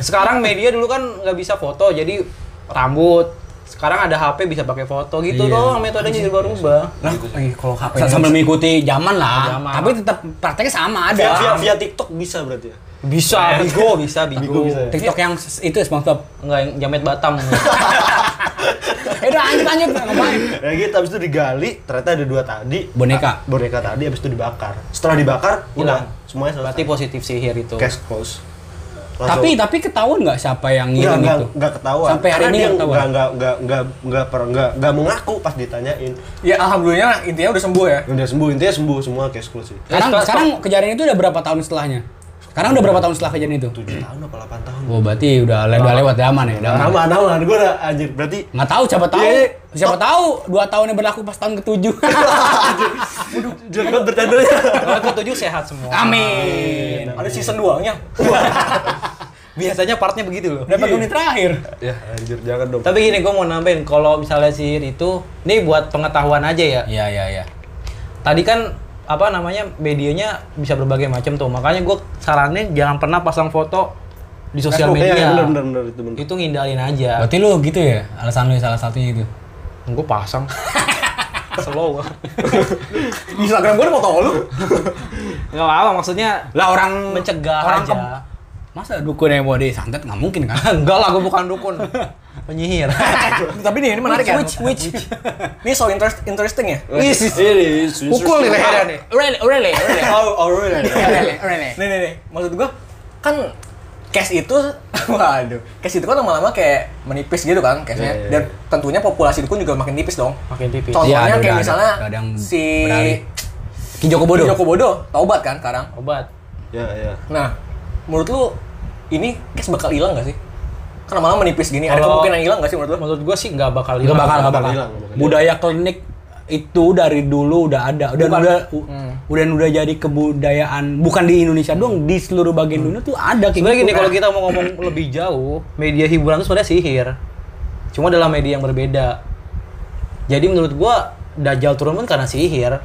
Sekarang media dulu kan nggak bisa foto, jadi rambut. Sekarang ada HP bisa pakai foto gitu Iya. doang metodenya jadi berubah. Lah, kalau HP sa- sambil mengikuti zaman Iya, lah. Zaman. Tapi tetap prakteknya sama Via, via, ada. via TikTok bisa berarti ya? Bisa, Bigo bisa, Bigo. bisa ya? TikTok yang s- itu ya, SpongeBob. Enggak yang jamet Batam. Eh, udah lanjut lanjut ngapain? Ya gitu, abis itu digali, ternyata ada dua tadi. Boneka. Ah, boneka tadi, abis itu dibakar. Setelah dibakar, hilang. Semuanya selesai. Berarti positif sihir itu. Cash close. Langsung. Tapi tapi ketahuan nggak siapa yang Nggak, ngirim nggak, itu? nggak ketahuan. Sampai hari Karena ini dia nggak ketahuan. nggak nggak nggak nggak nggak per nggak nggak mengaku pas ditanyain. Ya alhamdulillah intinya udah sembuh ya. Udah sembuh intinya sembuh semua cash close sih. Sekarang Stop, stop. sekarang kejadian itu udah berapa tahun setelahnya? Sekarang udah berapa tahun setelah kejadian itu? Tujuh tahun apa delapan tahun? Oh, berarti udah le- udah lewat zaman ya, Hmm. udah aman. Nama nama gue udah anjir berarti Nggak tahu siapa tahu. Iya, iya. Siapa tahu dua tahun yang berlaku pas tahun ketujuh. Iya. jangan bercandanya. Kalau ketujuh sehat semua. Amin. Ada season 2-nya. Biasanya partnya begitu loh. Dapat unit terakhir. ya anjir jangan dong. Tapi gini gue mau nambahin kalau misalnya sihir itu ini buat pengetahuan aja ya. Iya, iya, iya. Tadi kan apa namanya medianya bisa berbagai macam tuh. Makanya gue saranin jangan pernah pasang foto di sosial Facebook, media. iya, bener, bener, bener, itu bener. Itu ngindarin aja. Berarti lu gitu ya? Alasan lu salah satunya gitu. itu. Gue pasang. Slow. Di Instagram gua ada foto lu. Gak apa-apa maksudnya Lah orang mencegah orang aja. ke- Masa dukun yang mau disantet nggak mungkin kan? Enggak lah, gue bukan dukun. Penyihir. Tapi nih ini menarik ya. Which, Ini so interest, interesting ya. Pukul nih lehernya nih. Really, really, really. Oh, oh, really? nih nih nih maksud gua kan cash itu waduh cash itu kan lama-lama kayak menipis gitu kan cashnya Iya, iya, dan tentunya populasi dukun juga makin tipis dong Makin tipis. contohnya Iya, ada- kayak ada- misalnya ada yang si beralih. Ki Joko Bodo Joko Bodo taubat kan sekarang Obat. Ya, ya. nah menurut lu ini cash bakal hilang gak sih kan lama-lama menipis gini ada Kalau- kemungkinan hilang gak sih menurut lu Menurut gue sih nggak bakal Nggak hilang. bakal, nggak bakal. hilang, nggak bakal. Budaya klinik itu dari dulu udah ada, udah Bukan. Hmm. udah u- udah udah jadi kebudayaan bukan di Indonesia doang di seluruh bagian dunia tuh ada kayak Sebenarnya gitu. gini, kalau kita mau ngomong lebih jauh, media hiburan itu sebenarnya sihir. Cuma dalam media yang berbeda. Jadi menurut gua Dajjal turun pun karena sihir.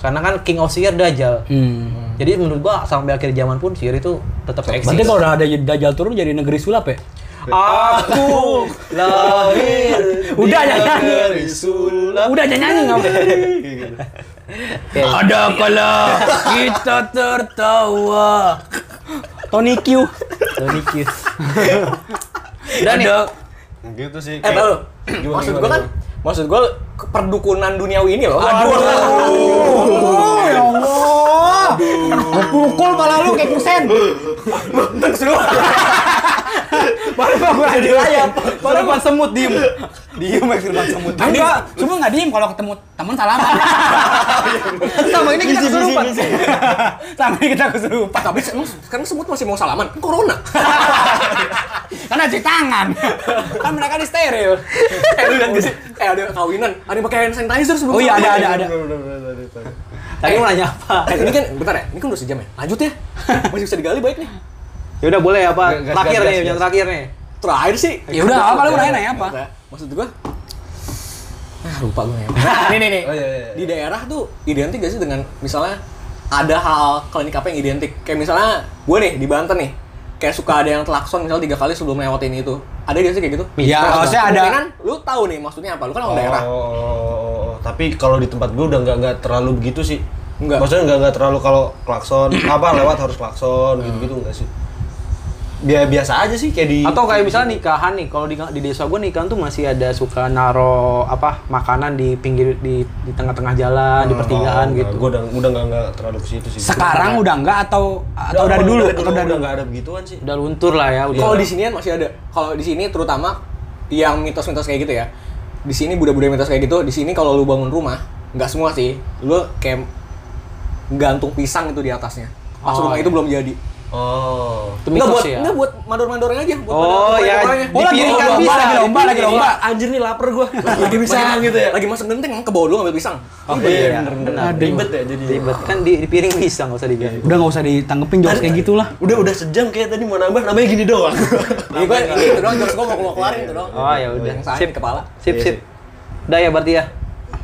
Karena kan King of Sihir Dajjal. Hmm. Jadi menurut gua sampai akhir zaman pun sihir itu tetap eksis. Berarti kalau udah ada dajal turun jadi negeri sulap ya? aku lahir Udah ya, jangan nyanyi. Sulap. Udah jangan nyanyi nggak apa-apa. Gitu, Ada kala kita tertawa. Tony Q. Tony Kiss. Dan ada Gitu eh sih. kayak- tahu Gimana, maksud gua gimana, kan maksud gua ke- perdukunan duniawi ini loh Pukul malah lu kayak kusen. Baru mau gue ada ayam. Serupan semut diem. Diem ya serupan semut. Enggak, cuma nggak diem kalau ketemu teman salaman. Sama ini kita kesurupan. Sama ini kita kesurupan. tapi se- emang sekarang semut masih mau salaman Kan corona Karena cuci tangan. Kan mereka di steril. eh lu lihat gak sih eh ada kawinan ada yang pakai hand sanitizer sebelum Oh iya ada ada ada. Bener, bener, bener, bener, bener. Tadi mau nanya apa? Eh, ini kan bentar ya, ini kan udah sejam ya. Lanjut ya. Masih bisa digali baik nih. Ya udah boleh apa? Gas, gas, Terakhir gas, nih, gas. yang terakhir nih. Terakhir sih. Ya udah, apa lu mau nanya, nanya apa? Maksud gua Nah, lupa gua nanya. apa. nih nih nih. Oh, iya, iya. Di daerah tuh identik gak sih dengan misalnya ada hal klinik apa yang identik? Kayak misalnya gue nih di Banten nih. Kayak suka ada yang telakson misalnya tiga kali sebelum lewatin itu. Ada gak sih kayak gitu? Iya, Ya, Nah, maksudnya ada- kemungkinan lu tahu nih maksudnya apa? Lu kan orang daerah. Oh, oh, oh. tapi kalau di tempat gue udah nggak nggak terlalu begitu sih. Nggak. Maksudnya nggak nggak terlalu kalau klakson apa lewat harus klakson gitu-gitu nggak sih. Biasa biasa aja sih kayak di. Atau kayak misalnya nikahan nih, kalau di, di desa gue nikahan tuh masih ada suka naro apa makanan di pinggir di di tengah-tengah jalan, di pertigaan gitu. Gue udah udah Hmm, nggak nggak terlalu ke situ sih. Sekarang udah enggak atau Udah, atau dari udah, dulu? udah, Atau dari udah dulu? nggak ada begituan sih. Udah luntur lah ya, udah. Kalau di sini kan masih ada. Kalau di sini terutama yang mitos-mitos kayak gitu ya. Di sini budaya-budaya mitos kayak gitu. Di sini kalau lu bangun rumah, nggak semua sih. Lu kayak gantung pisang itu di atasnya. Pas Oh, rumah iya. itu belum jadi. Oh. Nggak Itu mitos buat, ya. nggak buat mandor-mandornya aja. Buat Oh mandor-mandornya. ya, Oh, lagi dipiring lomba, kan bisa. lagi lomba, lagi lomba. Anjir nih lapar gue. Lagi pisang gitu ya. Lagi masuk genteng ke bawah lu ngambil pisang. Oh, Iya, iya, bener, bener. benar. Ribet ya jadi. Ribet kan di, di piring bisa nggak usah dibilang. Udah nggak usah ditanggepin jokes kayak gitulah. Udah udah sejam kayak tadi mau nambah nambahnya gini doang. Ini gue ini itu Iya, gitu doang jokes gue mau keluar keluarin itu doang. Oh ya udah. Yang sakit Sip kepala. Sip Iya, sip. sip. Udah ya berarti ya.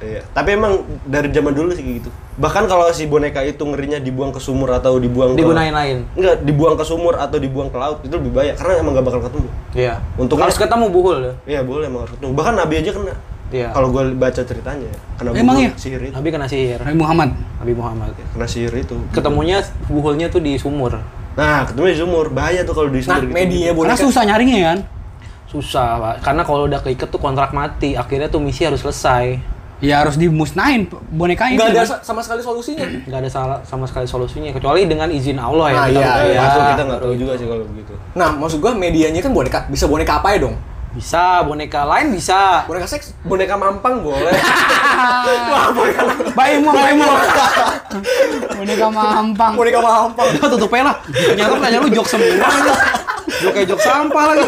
Iya. Tapi emang dari zaman dulu sih kayak gitu. Bahkan kalau si boneka itu ngerinya dibuang ke sumur atau dibuang ke- Digunain lain. Enggak, dibuang ke sumur atau dibuang ke laut itu lebih bahaya karena emang gak bakal ketemu. Iya. Untungnya- harus ketemu buhul. ya. Iya, boleh emang harus ketemu. Bahkan Nabi aja kena. Iya. Kalau gue baca ceritanya kena Emang bunuh iya? sihir itu. Nabi kena sihir. Nabi Muhammad. Nabi Muhammad. Kena sihir itu. Ketemunya buhulnya tuh di sumur. Nah, ketemu di sumur bahaya tuh kalau iya. di Nah, sumur gitu. media Karena boneka. susah nyarinya kan. Susah, Pak. Karena kalau udah keiket tuh kontrak mati. Akhirnya tuh misi harus selesai. Ya harus dimusnahin bonekanya. Nggak itu. ada sa- sama sekali solusinya. nggak ada salah sama sekali solusinya kecuali dengan izin Allah ya. Ah, kita iya, tahu Nah, ya. itu kita nggak tahu juga sih kalau begitu. Nah, maksud gue medianya kan boneka. Bisa boneka apa ya dong? Bisa boneka lain bisa. Boneka seks. Boneka mampang boleh. Bayimu, bayimu. Boneka mampang. Boneka mampang. Udah tutupnya lah. Ternyata pertanyaan lu jok semua. Jok kayak jok sampah lagi.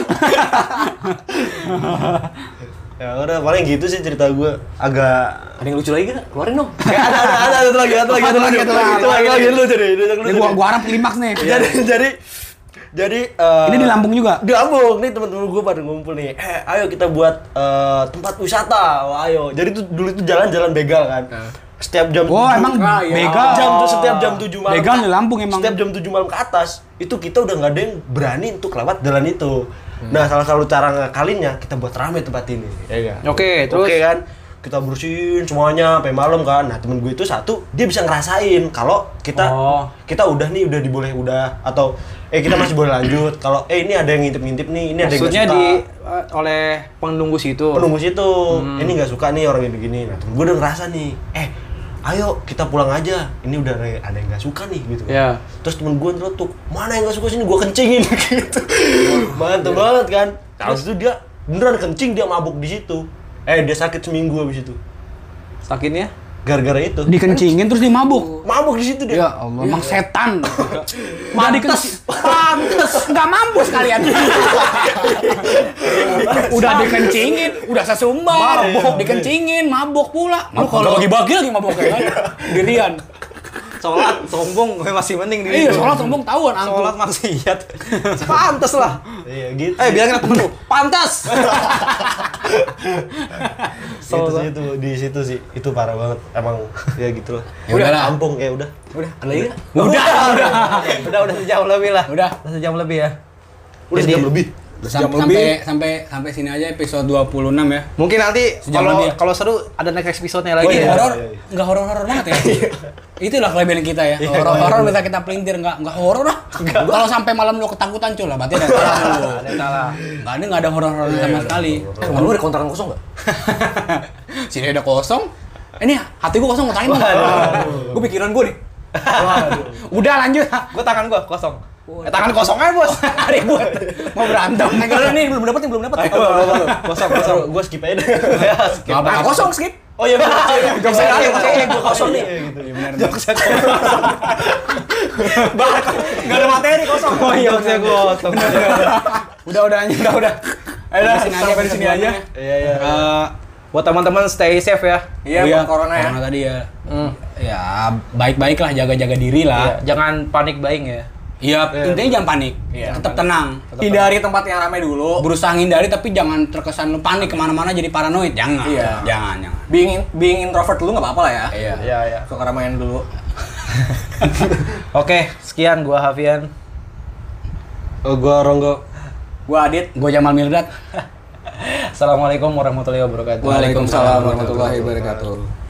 ya udah paling gitu sih cerita gue agak Ada yang lucu lagi gak? Keluarin dong. ada ada ada ada lagi ada lagi Ada lagi, ada lagi. Itu lagi lagi lu jadi itu Ini Ya, gua gua harap klimaks nih. Iya. jadi jadi jadi eh, Iya. Ini di Lampung juga. di Lampung nih teman-teman gue pada ngumpul nih eh ayo kita buat eh, tempat wisata Wah, ayo jadi tuh dulu itu jalan-jalan begal kan setiap jam Oh, tujuh- emang Ah, iya. begal. jam tuh setiap jam 7 malam Begal di Lampung emang. setiap jam 7 malam ke atas itu kita udah nggak ada yang berani untuk lewat jalan itu nah salah satu cara ngakalinnya kita buat rame tempat ini ya nggak? Oke, terus? oke kan kita bersihin semuanya sampai malam kan nah temen gue itu satu dia bisa ngerasain kalau kita Oh. kita udah nih udah diboleh udah atau eh kita masih boleh lanjut kalau eh ini ada yang ngintip-ngintip nih ini ada yang Maksudnya nggak suka di Hmm. eh, oleh penunggu situ. penunggu situ ini nggak suka nih orang yang begini nah temen gue udah ngerasa nih eh ayo kita pulang aja ini udah ada ada yang nggak suka nih gitu kan. Iya. terus temen gue nyelotok mana yang nggak suka sini gue kencingin gitu mantep banget kan terus itu dia beneran kencing dia mabuk di situ eh dia sakit seminggu habis itu Sakitnya? gara-gara itu Dikencingin terus dia mabuk. mabuk di situ dia Ya Allah, emang setan. Mandi kencing. Pantes. Nggak mampus kalian. udah dikencingin, udah sesumbar. Mabok. Dikencingin, mabok pula. Lu kalau bagi-bagi lagi mabok ya kan? Dirian. Sholat, sombong, masih penting diri. Iya, sholat sombong tahuan angkuh. Sholat maksiat. Pantes lah. iya gitu Eh, bilangin apa lu? Pantes. itu Gitu sih itu di situ sih itu parah banget emang ya gitu lah Ya udahlah. kampung ya udah Udah, ada lagi nggak? Udah, udah. Udah, udah sejam lebih lah. Udah, sejam lebih ya. udah Jadi- jam lebih Sam- sampai sampai sampai sini aja episode 26 ya. Mungkin nanti Sejam kalau lebih ya? kalau seru ada next episode-nya lagi. Ini ya. horor, iya, iya. nggak horor-horor banget ya. Itulah kelebihan kita ya. Horor-horor bisa kita pelintir nggak nggak horor lah. Kalau sampai malam lu ketakutan cuy lah, berarti ada yang salah lu. Ada yang salah. Nggak ada nggak ada horor-horor sama sekali. Lu Eh, ada kontrakan kosong nggak? Sini ada kosong. Ini hati gua kosong ngatain lu. Gue pikiran gue nih. Udah lanjut. Gua tangan gua kosong. Eh, tangan kosong aja bos. Ribut. Mau berantem. Enggak ada nih, belum dapat nih, belum dapat. kosong kosong gue skip aja deh Nggak apa-apa. Nah, kosong skip. oh iya bener Gak usah kali, gue kosong nih. Iya, gitu ya bener Gak ada materi kosong. Oh iya, maksudnya gua kosong. Udah udah anjing, udah udah. Ayo dah, sampai di sini aja. iya iya Eh, Buat teman-teman stay safe ya. Iya, buat corona ya. tadi ya. Hmm. Ya, baik-baik lah jaga-jaga diri Iya. Iya. lah. Nah, Jangan panik buying ya. Iya, intinya jangan panik. Tetap tenang. Hindari tempat yang ramai dulu. Berusaha hindari tapi jangan terkesan lu panik kemana-mana jadi paranoid. Jangan. Iya. Jangan, jangan. Being, being introvert dulu nggak apa-apa lah ya. Iya. iya iya Suka ramaian dulu. Oke, sekian gua Hafian. oh, gue Ronggo Gue Adit. Gue Jamal Mirdad. Assalamualaikum warahmatullahi wabarakatuh. Waalaikumsalam warahmatullahi wabarakatuh.